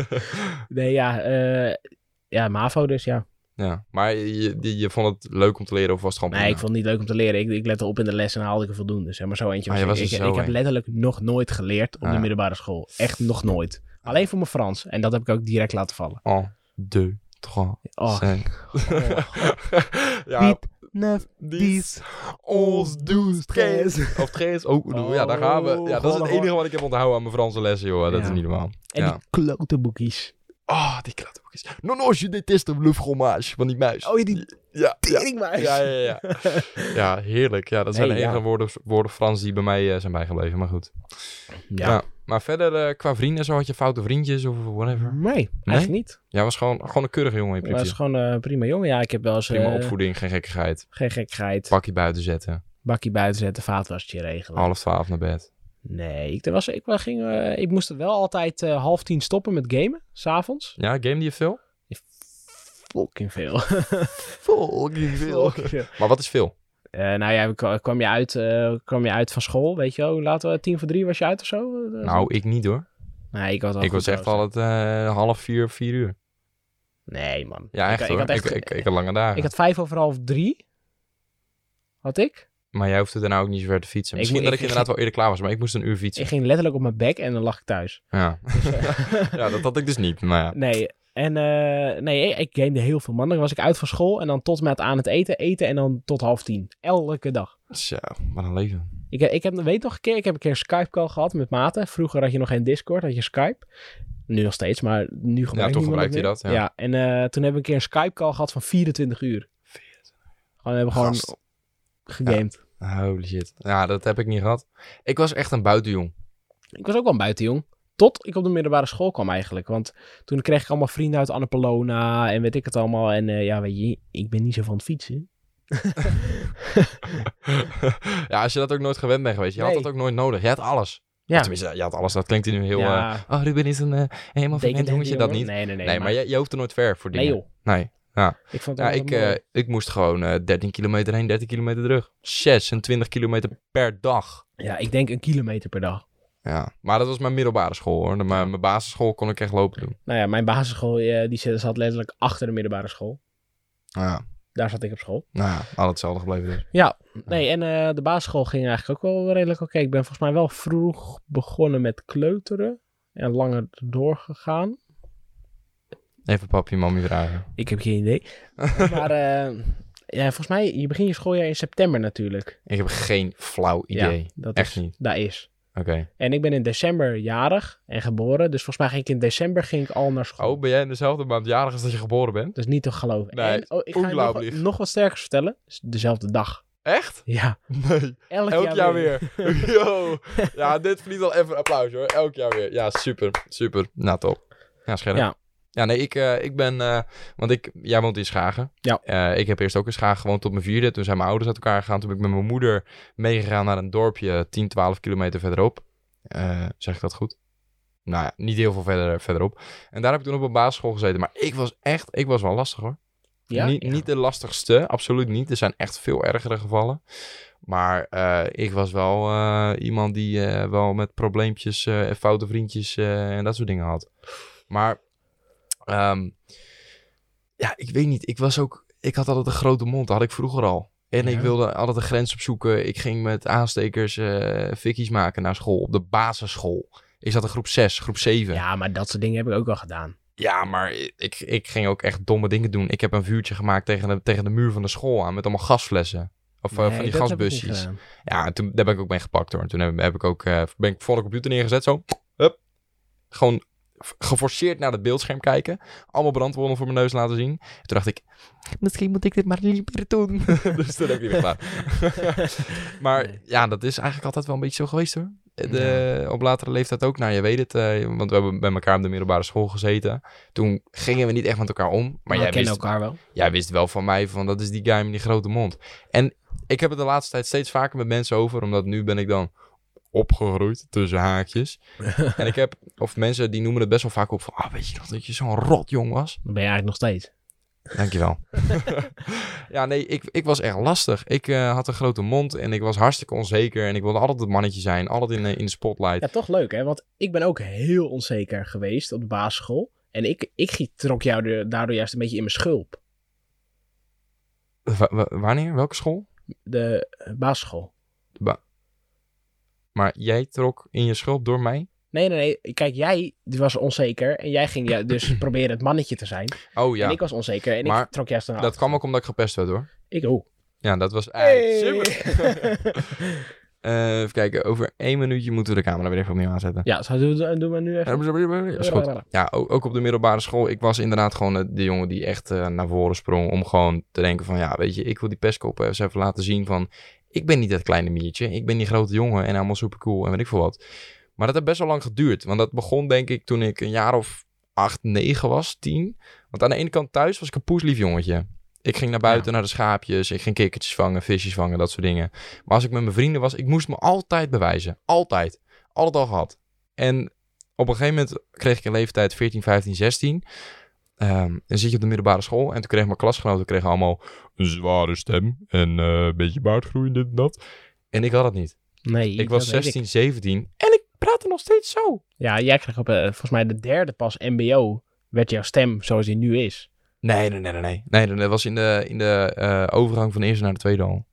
Speaker 2: nee, ja, eh, ja, MAVO dus, ja.
Speaker 1: ja, maar je, je, je vond het leuk om te leren of was het gewoon...
Speaker 2: Nee, ik vond het niet leuk om te leren. Ik, ik lette op in de les en dan haalde ik er voldoende. Zeg maar zo eentje.
Speaker 1: Ah, je
Speaker 2: was ik.
Speaker 1: was er
Speaker 2: ik,
Speaker 1: zo
Speaker 2: ik heb
Speaker 1: een.
Speaker 2: letterlijk nog nooit geleerd op
Speaker 1: Ah,
Speaker 2: de
Speaker 1: ja.
Speaker 2: middelbare school. Echt nog nooit. Alleen voor mijn Frans. En dat heb ik ook direct laten vallen.
Speaker 1: Oh, deux, trois,
Speaker 2: Oh,
Speaker 1: cinq. ja,
Speaker 2: Piet, neuf, dies, ons, does, tres.
Speaker 1: Of tres. Oh, doe. ja, daar gaan we. Ja, dat is het enige wat ik heb onthouden aan mijn Franse lessen, joh. Dat
Speaker 2: Ja.
Speaker 1: is niet normaal.
Speaker 2: En
Speaker 1: Ja.
Speaker 2: die klote boekjes.
Speaker 1: Ah, die klatterboekjes. Non, non, je déteste le fromage van die muis.
Speaker 2: Oh, die
Speaker 1: ja, ja,
Speaker 2: teringmuis.
Speaker 1: ja, ja, ja. Ja, heerlijk. Ja, dat zijn
Speaker 2: Nee,
Speaker 1: de
Speaker 2: ja.
Speaker 1: enige woorden, woorden Frans die bij mij eh, zijn bijgebleven. Maar goed.
Speaker 2: Ja.
Speaker 1: Ja. Maar verder, eh, qua vrienden, zo had je foute vriendjes of whatever.
Speaker 2: Nee,
Speaker 1: Nee?
Speaker 2: eigenlijk niet.
Speaker 1: Jij was gewoon, gewoon een keurige jongen in
Speaker 2: Ik was
Speaker 1: principe.
Speaker 2: gewoon eh, prima jongen. Ja, ik heb wel eens
Speaker 1: Prima
Speaker 2: eh,
Speaker 1: opvoeding, geen gekkigheid.
Speaker 2: geen gekkigheid.
Speaker 1: Pakje buiten zetten.
Speaker 2: Bakkie buiten zetten, vaatwasje regelen.
Speaker 1: Half twaalf naar bed.
Speaker 2: Nee, ik, er was, ik, wel ging, eh, ik moest wel altijd eh, half tien stoppen met gamen, s'avonds.
Speaker 1: Ja, game die je veel?
Speaker 2: Fucking veel.
Speaker 1: Fucking
Speaker 2: Fucking veel.
Speaker 1: Maar wat is veel?
Speaker 2: Eh, nou ja, ik kwam- kwam je, uit, eh, kwam je uit van school, weet je wel. Hoe laat was Tien voor drie was je uit of zo? Eh,
Speaker 1: Nou, ik niet hoor.
Speaker 2: nee, ik was, al
Speaker 1: ik was echt al het eh, half vier, vier uur.
Speaker 2: Nee, man.
Speaker 1: Ja, echt
Speaker 2: ik,
Speaker 1: hoor.
Speaker 2: Ik had, echt,
Speaker 1: ik, ik, ik had lange dagen.
Speaker 2: ik had vijf over half drie. Had ik?
Speaker 1: Maar jij hoefde daarna ook niet zo ver te fietsen.
Speaker 2: Ik
Speaker 1: Misschien
Speaker 2: moet-
Speaker 1: dat ik,
Speaker 2: ik- ik-
Speaker 1: inderdaad wel eerder klaar was, maar ik moest een uur fietsen.
Speaker 2: Ik ging letterlijk op mijn bek en dan lag ik thuis.
Speaker 1: Ja. ja, dat had ik dus niet. Maar ja.
Speaker 2: Nee, en eh, nee, ik- ik gamede heel veel man. Dan was ik uit van school en dan tot met aan het eten, eten en dan tot half tien. Elke dag.
Speaker 1: Zo, wat een leven.
Speaker 2: Ik, ik heb, weet nog een keer, ik heb een keer een Skype call gehad met maten. Vroeger had je nog geen Discord, had je Skype. Nu nog steeds, maar nu gebruik
Speaker 1: toen
Speaker 2: niemand
Speaker 1: gebruikte je
Speaker 2: meer.
Speaker 1: dat, ja.
Speaker 2: en eh, toen heb ik een keer een Skype call gehad van 24 uur. Gewoon, we hebben gewoon
Speaker 1: Gast.
Speaker 2: gegamed.
Speaker 1: Holy shit. Ja, dat heb ik niet gehad. Ik was echt een buitenjong.
Speaker 2: Ik was ook wel een buitenjong. Tot ik op de middelbare school kwam eigenlijk. Want toen kreeg ik allemaal vrienden uit Annapolona en weet ik het allemaal. En eh, ja, weet je, ik ben niet zo van het fietsen.
Speaker 1: ja, als je dat ook nooit gewend bent geweest. Je
Speaker 2: Nee.
Speaker 1: had dat ook nooit nodig. Je had alles.
Speaker 2: Ja.
Speaker 1: Tenminste, je had alles. Dat klinkt nu heel... eh,
Speaker 2: ja,
Speaker 1: oh, Ruben is een eh, helemaal verwend
Speaker 2: tekent
Speaker 1: jongetje. Dat niet.
Speaker 2: Nee, nee, nee.
Speaker 1: Nee, maar, jij, jij hoeft er nooit ver voor
Speaker 2: nee
Speaker 1: dingen.
Speaker 2: joh.
Speaker 1: Nee.
Speaker 2: Ik vond het
Speaker 1: Ja,
Speaker 2: wel
Speaker 1: ik,
Speaker 2: mooi.
Speaker 1: eh, ik moest gewoon eh, 13 kilometer heen, 13 kilometer terug. 26 kilometer per dag.
Speaker 2: ja, ik denk een kilometer per dag.
Speaker 1: Ja, maar dat was mijn middelbare school hoor. Maar mijn basisschool kon ik echt lopen doen.
Speaker 2: Nou ja, mijn basisschool eh, die zat zat letterlijk achter de middelbare school.
Speaker 1: Ja,
Speaker 2: Daar zat ik op school.
Speaker 1: nou ja, al hetzelfde gebleven dus.
Speaker 2: Nee, en eh, de basisschool ging eigenlijk ook wel redelijk oké. Ik ben volgens mij wel vroeg begonnen met kleuteren. En langer doorgegaan.
Speaker 1: Even papje en mamie vragen.
Speaker 2: Ik heb geen idee. maar eh, ja, volgens mij, je begint je schooljaar in september natuurlijk.
Speaker 1: Ik heb geen flauw idee.
Speaker 2: Ja, dat
Speaker 1: echt
Speaker 2: is,
Speaker 1: niet.
Speaker 2: Dat is.
Speaker 1: Oké.
Speaker 2: En ik ben in december jarig en geboren. Dus volgens mij ging ik in december ging ik al naar school.
Speaker 1: Oh, ben jij in dezelfde maand jarig als dat je geboren bent?
Speaker 2: Dat is niet te geloven.
Speaker 1: Nee,
Speaker 2: en, oh, ik ga je nog,
Speaker 1: ongelooflijk.
Speaker 2: wat- nog wat sterkers vertellen. Het is Dezelfde dag.
Speaker 1: Echt?
Speaker 2: Ja,
Speaker 1: Nee.
Speaker 2: elk,
Speaker 1: Elk jaar weer. Yo. Ja, dit verdient al even een applaus hoor. Elk jaar weer. Ja, super. Super. Nou, top. Ja, scherp.
Speaker 2: Ja.
Speaker 1: Ja, nee, ik, eh, ik ben... eh, want ik, jij woont in Schagen.
Speaker 2: Ja.
Speaker 1: Eh, ik heb eerst ook in Schagen gewoond tot mijn vierde. Toen zijn mijn ouders uit elkaar gegaan. Toen ben ik met mijn moeder meegegaan naar een dorpje 10, 12 kilometer verderop. Eh, zeg ik dat goed? Nou ja, niet heel veel verder, verderop. En daar heb ik toen op een basisschool gezeten. Maar ik was echt... Ik was wel lastig hoor.
Speaker 2: Ja?
Speaker 1: Niet,
Speaker 2: Ja.
Speaker 1: niet de lastigste, absoluut niet. Er zijn echt veel ergere gevallen. Maar eh, ik was wel eh, iemand die eh, wel met probleempjes eh, en foute vriendjes eh, en dat soort dingen had. Maar ehm, ja, ik weet niet. Ik was ook. Ik had altijd een grote mond, dat had ik vroeger al. En
Speaker 2: Ja.
Speaker 1: ik wilde altijd een grens opzoeken. Ik ging met aanstekers eh fikkies maken naar school, op de basisschool. Ik zat in groep 6, groep 7.
Speaker 2: Ja, maar dat soort dingen heb ik ook wel gedaan.
Speaker 1: Ja, maar ik, ik ging ook echt domme dingen doen. Ik heb een vuurtje gemaakt tegen de, tegen de muur van de school aan met allemaal gasflessen. Of eh,
Speaker 2: Nee,
Speaker 1: van die
Speaker 2: dat heb ik niet
Speaker 1: gasbusjes.
Speaker 2: gedaan.
Speaker 1: Ja, en toen, daar ben ik ook mee gepakt hoor. En Toen heb, heb ik ook, eh, ben ik voor de computer neergezet zo. Hup. Gewoon f- geforceerd naar het beeldscherm kijken. Allemaal brandwonden voor mijn neus laten zien. En toen dacht ik, misschien moet ik dit maar liever doen. dus toen heb ik niet meer gedaan. Maar
Speaker 2: Nee.
Speaker 1: ja, dat is eigenlijk altijd wel een beetje zo geweest hoor. De, Op latere leeftijd ook. Nou, je weet het, eh, want we hebben bij elkaar op de middelbare school gezeten. Toen gingen we niet echt met elkaar om. Maar,
Speaker 2: Maar
Speaker 1: jij,
Speaker 2: we kennen
Speaker 1: wist,
Speaker 2: elkaar wel.
Speaker 1: jij wist wel van mij, van dat is die guy met die grote mond. En ik heb het de laatste tijd steeds vaker met mensen over, omdat nu ben ik dan opgegroeid, tussen haakjes. en ik heb, of mensen die noemen het best wel vaak op van, ah, weet je nog dat je zo'n rot jong was?
Speaker 2: Dan ben je eigenlijk nog steeds.
Speaker 1: Dankjewel. ja, nee, ik, ik was echt lastig. Ik eh, had een grote mond en ik was hartstikke onzeker. En ik wilde altijd het mannetje zijn, altijd in, de- in de spotlight.
Speaker 2: Ja, toch leuk, hè? Want ik ben ook heel onzeker geweest op de basisschool. En ik, ik gie- trok jou de- daardoor juist een beetje in mijn schulp.
Speaker 1: Wa- wa- wanneer? Welke school?
Speaker 2: De eh, basisschool.
Speaker 1: Maar jij trok in je schulp door mij?
Speaker 2: Nee, nee, nee. Kijk, jij die was onzeker. En jij ging ja, dus proberen het mannetje te zijn.
Speaker 1: Oh
Speaker 2: En
Speaker 1: ja,
Speaker 2: ik was onzeker. En
Speaker 1: Maar
Speaker 2: ik trok juist een
Speaker 1: dat kwam ook omdat ik gepest werd hoor.
Speaker 2: Ik ook.
Speaker 1: Ja, dat was... Hey,
Speaker 2: Hey!
Speaker 1: super. Eh, even kijken, over één minuutje moeten we de camera weer even opnieuw aanzetten.
Speaker 2: ja, zo doen we, doen we nu even.
Speaker 1: Is goed. Ja, ook, ook op de middelbare school. Ik was inderdaad gewoon eh, de jongen die echt eh, naar voren sprong. Om gewoon te denken van, ja, weet je, ik wil die pestkop eens even laten zien van... Ik ben niet dat kleine miertje. Ik ben die grote jongen en allemaal supercool en weet ik veel wat. Maar dat heeft best wel lang geduurd. Want dat begon denk ik toen ik een jaar of acht, negen was, tien. Want aan de ene kant thuis was ik een poeslief jongetje. Ik ging naar buiten, naar de schaapjes. Ik ging kikkertjes vangen, visjes vangen, dat soort dingen. Maar als ik met mijn vrienden was, ik moest me altijd bewijzen. Altijd. Altijd al gehad. En op een gegeven moment kreeg ik een leeftijd 14, 15, 16. Ehm en zit je op de middelbare school. En toen kreeg mijn klasgenoten kregen allemaal een zware stem. En eh, een beetje baardgroei, dit en dat. En ik had het niet.
Speaker 2: Nee,
Speaker 1: Ik was
Speaker 2: dat weet ik.
Speaker 1: 16, 17. En ik praatte nog steeds zo.
Speaker 2: Ja, jij kreeg op eh, volgens mij de derde pas MBO. werd jouw stem zoals die nu is.
Speaker 1: Nee, nee, nee, nee. Nee, nee, nee, dat was in de, in de eh, overgang van de eerste naar de tweede al.
Speaker 2: Ook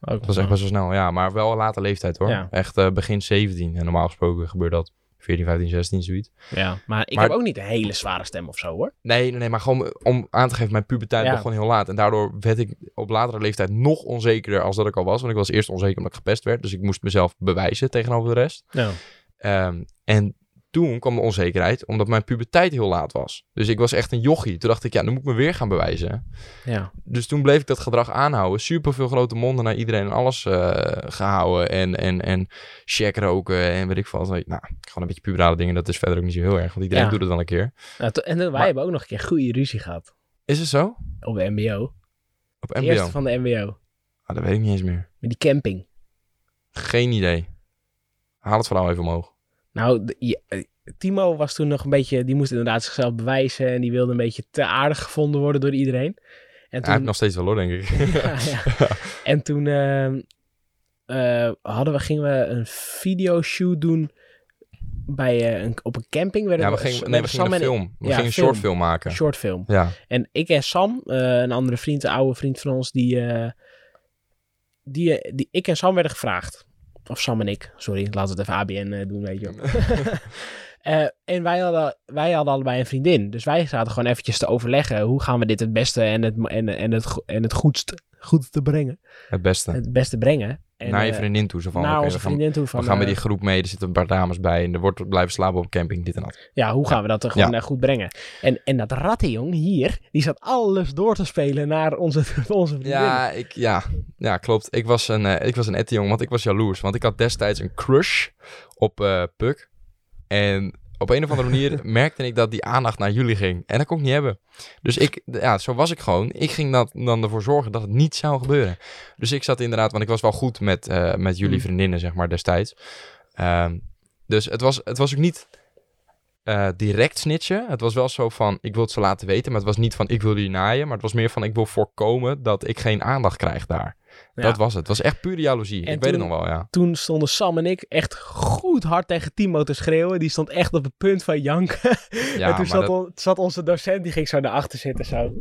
Speaker 1: Dat was echt best wel snel, ja. Maar wel een late leeftijd hoor.
Speaker 2: Ja.
Speaker 1: Echt eh, begin 17. En normaal gesproken gebeurt dat 14, 15, 16, zoiets.
Speaker 2: Ja, maar ik
Speaker 1: Maar-
Speaker 2: heb ook niet een hele zware stem of zo hoor.
Speaker 1: Nee, nee, nee, maar gewoon om aan te geven, mijn puberteit
Speaker 2: Ja.
Speaker 1: begon heel laat. En daardoor werd ik op latere leeftijd nog onzekerder als dat ik al was. Want ik was eerst onzeker omdat ik gepest werd. Dus ik moest mezelf bewijzen tegenover de rest.
Speaker 2: Ja.
Speaker 1: Ehm, en toen kwam de onzekerheid, omdat mijn puberteit heel laat was. Dus ik was echt een jochie. Toen dacht ik, ja, dan moet ik me weer gaan bewijzen.
Speaker 2: ja.
Speaker 1: Dus toen bleef ik dat gedrag aanhouden. Super veel grote monden naar iedereen en alles eh, gehouden. En, en, en check roken en weet ik veel. wat. Nou, gewoon een beetje puberale dingen. Dat is verder ook niet zo heel erg. Want iedereen
Speaker 2: Ja.
Speaker 1: doet het wel een keer.
Speaker 2: Nou, to- en eh, wij
Speaker 1: Maar-
Speaker 2: hebben ook nog een keer goede ruzie gehad.
Speaker 1: Is het zo?
Speaker 2: Op de MBO.
Speaker 1: Op
Speaker 2: De
Speaker 1: MBO?
Speaker 2: Eerste van de MBO.
Speaker 1: Ah, dat weet ik niet eens meer.
Speaker 2: Met die camping.
Speaker 1: Geen idee. Haal het verhaal even omhoog.
Speaker 2: Nou, de- je- eh, Timo was toen nog een beetje. die moest inderdaad zichzelf bewijzen. en die wilde een beetje te aardig gevonden worden door iedereen. En
Speaker 1: Hij heeft
Speaker 2: toen,
Speaker 1: nog steeds wel hoor, denk ik.
Speaker 2: Ja, ja. En toen ehm, eh, hadden we, gingen we een videoshoot doen bij, eh, een, op een camping. Werden
Speaker 1: ja, we gingen, nee, we gingen
Speaker 2: Sam
Speaker 1: een
Speaker 2: en ik-
Speaker 1: film. We
Speaker 2: ja,
Speaker 1: gingen een
Speaker 2: film.
Speaker 1: short film maken.
Speaker 2: Een shortfilm.
Speaker 1: Ja.
Speaker 2: En ik en Sam, eh, een andere vriend, een oude vriend van ons, die, eh, die, eh, die... Ik en Sam werden gevraagd. Of Sam en ik. Sorry, laten we het even ABN eh, doen, weet je wel. Eh, en wij hadden, wij hadden allebei een vriendin. Dus wij zaten gewoon eventjes te overleggen. Hoe gaan we dit het beste en het, mo- en, en het, go- en het goedst goed te brengen?
Speaker 1: Het beste.
Speaker 2: Het beste brengen. En,
Speaker 1: naar je
Speaker 2: eh,
Speaker 1: vriendin toe. Zo van,
Speaker 2: naar
Speaker 1: oké,
Speaker 2: onze
Speaker 1: we gaan,
Speaker 2: vriendin toe. Van,
Speaker 1: we gaan met
Speaker 2: eh,
Speaker 1: die groep mee. Er zitten een paar dames bij. En er wordt blijven slapen op een camping. Dit en dat.
Speaker 2: Ja, hoe gaan we dat er gewoon eh, goed brengen? En, en dat rattenjong hier, die zat alles door te spelen naar onze, onze vriendin.
Speaker 1: Ja, ik, ja, ja, klopt. Ik was een, eh, ik was een ette jongen, want ik was jaloers. Want ik had destijds een crush op eh Puk. En op een of andere manier merkte ik dat die aandacht naar jullie ging. En dat kon ik niet hebben. Dus ik, ja, zo was ik gewoon. Ik ging dat, dan ervoor zorgen dat het niet zou gebeuren. Dus ik zat inderdaad, want ik was wel goed met, eh, met jullie
Speaker 2: Mm.
Speaker 1: vriendinnen, zeg maar, destijds. Ehm, dus het was, het was ook niet eh, direct snitchen. Het was wel zo van, ik wil het ze laten weten. Maar het was niet van, ik wil die naaien. Maar het was meer van, ik wil voorkomen dat ik geen aandacht krijg daar.
Speaker 2: Ja.
Speaker 1: Dat was het. Het was echt pure jaloezie.
Speaker 2: En
Speaker 1: ik weet het nog
Speaker 2: toen-
Speaker 1: wel, ja.
Speaker 2: Toen stonden Sam en ik echt goed hard tegen Timo te schreeuwen. Die stond echt op het punt van janken.
Speaker 1: Ja,
Speaker 2: en toen
Speaker 1: maar
Speaker 2: zat,
Speaker 1: dat-
Speaker 2: on- zat onze docent, die ging zo naar achter zitten zo.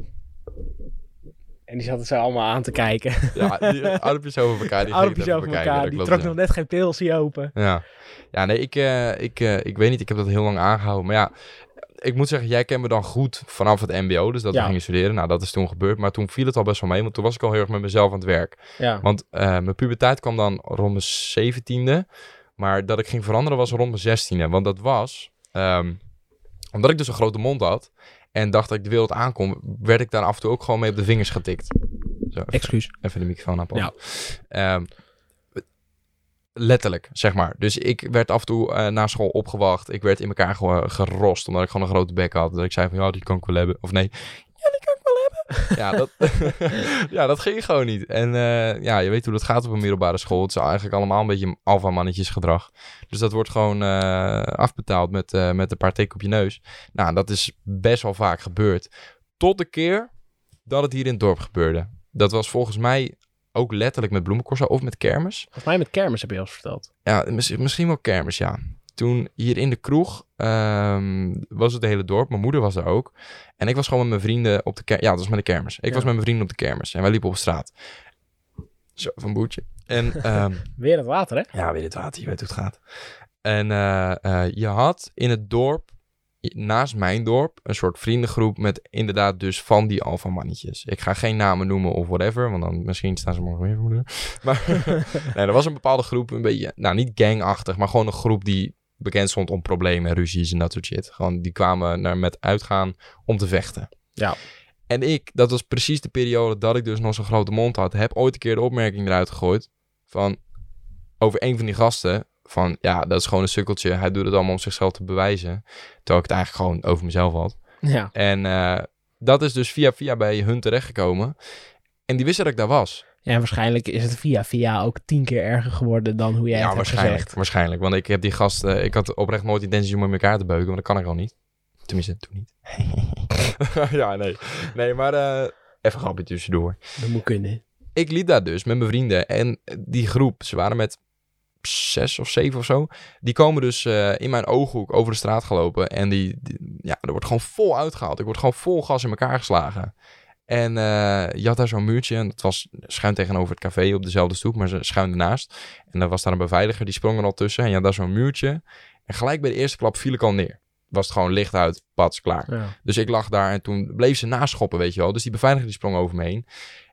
Speaker 2: En die zat het zo allemaal aan te kijken.
Speaker 1: ja die eh, armpjes over elkaar. Die
Speaker 2: Armpjes
Speaker 1: gingen
Speaker 2: over
Speaker 1: kijken,
Speaker 2: elkaar,
Speaker 1: dat
Speaker 2: die
Speaker 1: klopt,
Speaker 2: trok
Speaker 1: ja.
Speaker 2: nog net geen pilsie open.
Speaker 1: Ja, ja nee, ik, eh, ik, eh, ik weet niet. Ik heb dat heel lang aangehouden. Maar ja, ik moet zeggen, jij kent me dan goed vanaf het MBO. Dus dat we
Speaker 2: Ja.
Speaker 1: gingen studeren. Nou, dat is toen gebeurd. Maar toen viel het al best wel mee. Want toen was ik al heel erg met mezelf aan het werk.
Speaker 2: Ja.
Speaker 1: Want eh, mijn puberteit kwam dan rond mijn zeventiende. Maar dat ik ging veranderen was rond mijn zestiende. Want dat was, ehm, omdat ik dus een grote mond had. En dacht dat ik de wereld aankom, werd ik daar af en toe ook gewoon mee op de vingers getikt. Zo, even-
Speaker 2: Excuus.
Speaker 1: Even de microfoon aanpakken.
Speaker 2: Ja.
Speaker 1: Ehm, letterlijk, zeg maar. Dus ik werd af en toe eh, na school opgewacht. Ik werd in elkaar ge- gerost, omdat ik gewoon een grote bek had. Dat ik zei van, ja, die kan ik wel hebben. Of nee, ja, die kan ik wel hebben. ja, dat, ja, dat ging gewoon niet. En eh, ja, je weet hoe dat gaat op een middelbare school. Het is eigenlijk allemaal een beetje alfamannetjesgedrag. Dus dat wordt gewoon eh, afbetaald met, eh, met een paar teken op je neus. Nou, dat is best wel vaak gebeurd. Tot de keer dat het hier in het dorp gebeurde. Dat was volgens mij ook letterlijk met bloemencorso of met kermis.
Speaker 2: Volgens mij met kermis heb je ons verteld.
Speaker 1: Ja, mis- misschien wel kermis, ja. Toen hier in de kroeg ehm, was het hele dorp. Mijn moeder was daar ook. En ik was gewoon met mijn vrienden op de kermis. Ja, dat was met de kermis. Ik
Speaker 2: Ja.
Speaker 1: was met mijn vrienden op de kermis. En wij liepen op straat. Zo, van boertje. En ehm,
Speaker 2: Weer het water, hè?
Speaker 1: ja, weer dit water. Je weet hoe het gaat. En eh, eh, je had in het dorp, i- naast mijn dorp, een soort vriendengroep met inderdaad dus van die alpha mannetjes. Ik ga geen namen noemen of whatever, want dan misschien staan ze morgen weer voor de deur. Maar nee, er was een bepaalde groep, een beetje, nou niet gangachtig, maar gewoon een groep die bekend stond om problemen, ruzies en dat soort shit. Gewoon die kwamen naar met uitgaan om te vechten.
Speaker 2: Ja.
Speaker 1: En ik, dat was precies de periode dat ik dus nog zo'n grote mond had, heb ooit een keer de opmerking eruit gegooid van over een van die gasten van ja, dat is gewoon een sukkeltje. Hij doet het allemaal om zichzelf te bewijzen. Terwijl ik het eigenlijk gewoon over mezelf had.
Speaker 2: Ja.
Speaker 1: En eh, dat is dus via via bij hun terechtgekomen. En die wisten dat ik daar was.
Speaker 2: ja. En waarschijnlijk is het via via ook tien keer erger geworden dan hoe jij het hebt
Speaker 1: waarschijnlijk.
Speaker 2: gezegd.
Speaker 1: Waarschijnlijk. Want ik heb die gast. eh, ik had oprecht nooit intentie om hem in elkaar te beuken, want dat kan ik al niet. Tenminste, toen niet. ja, nee. Nee, maar eh, even een grapje tussendoor.
Speaker 2: Dat moet kunnen.
Speaker 1: ik liep daar dus met mijn vrienden en die groep, ze waren met zes of zeven of zo, die komen dus eh, in mijn ooghoek over de straat gelopen en die, die- ja, er wordt gewoon vol uitgehaald. Ik word gewoon vol gas in elkaar geslagen. En eh, je had daar zo'n muurtje en dat was schuin tegenover het café op dezelfde stoep, maar ze- schuin ernaast. En daar was daar een beveiliger, die sprong er al tussen en je had daar zo'n muurtje. En gelijk bij de eerste klap viel ik al neer. Was het gewoon licht uit, pats, klaar.
Speaker 2: Ja.
Speaker 1: Dus ik lag daar en toen bleef ze naschoppen, weet je wel. Dus die beveiliger die sprong over me heen.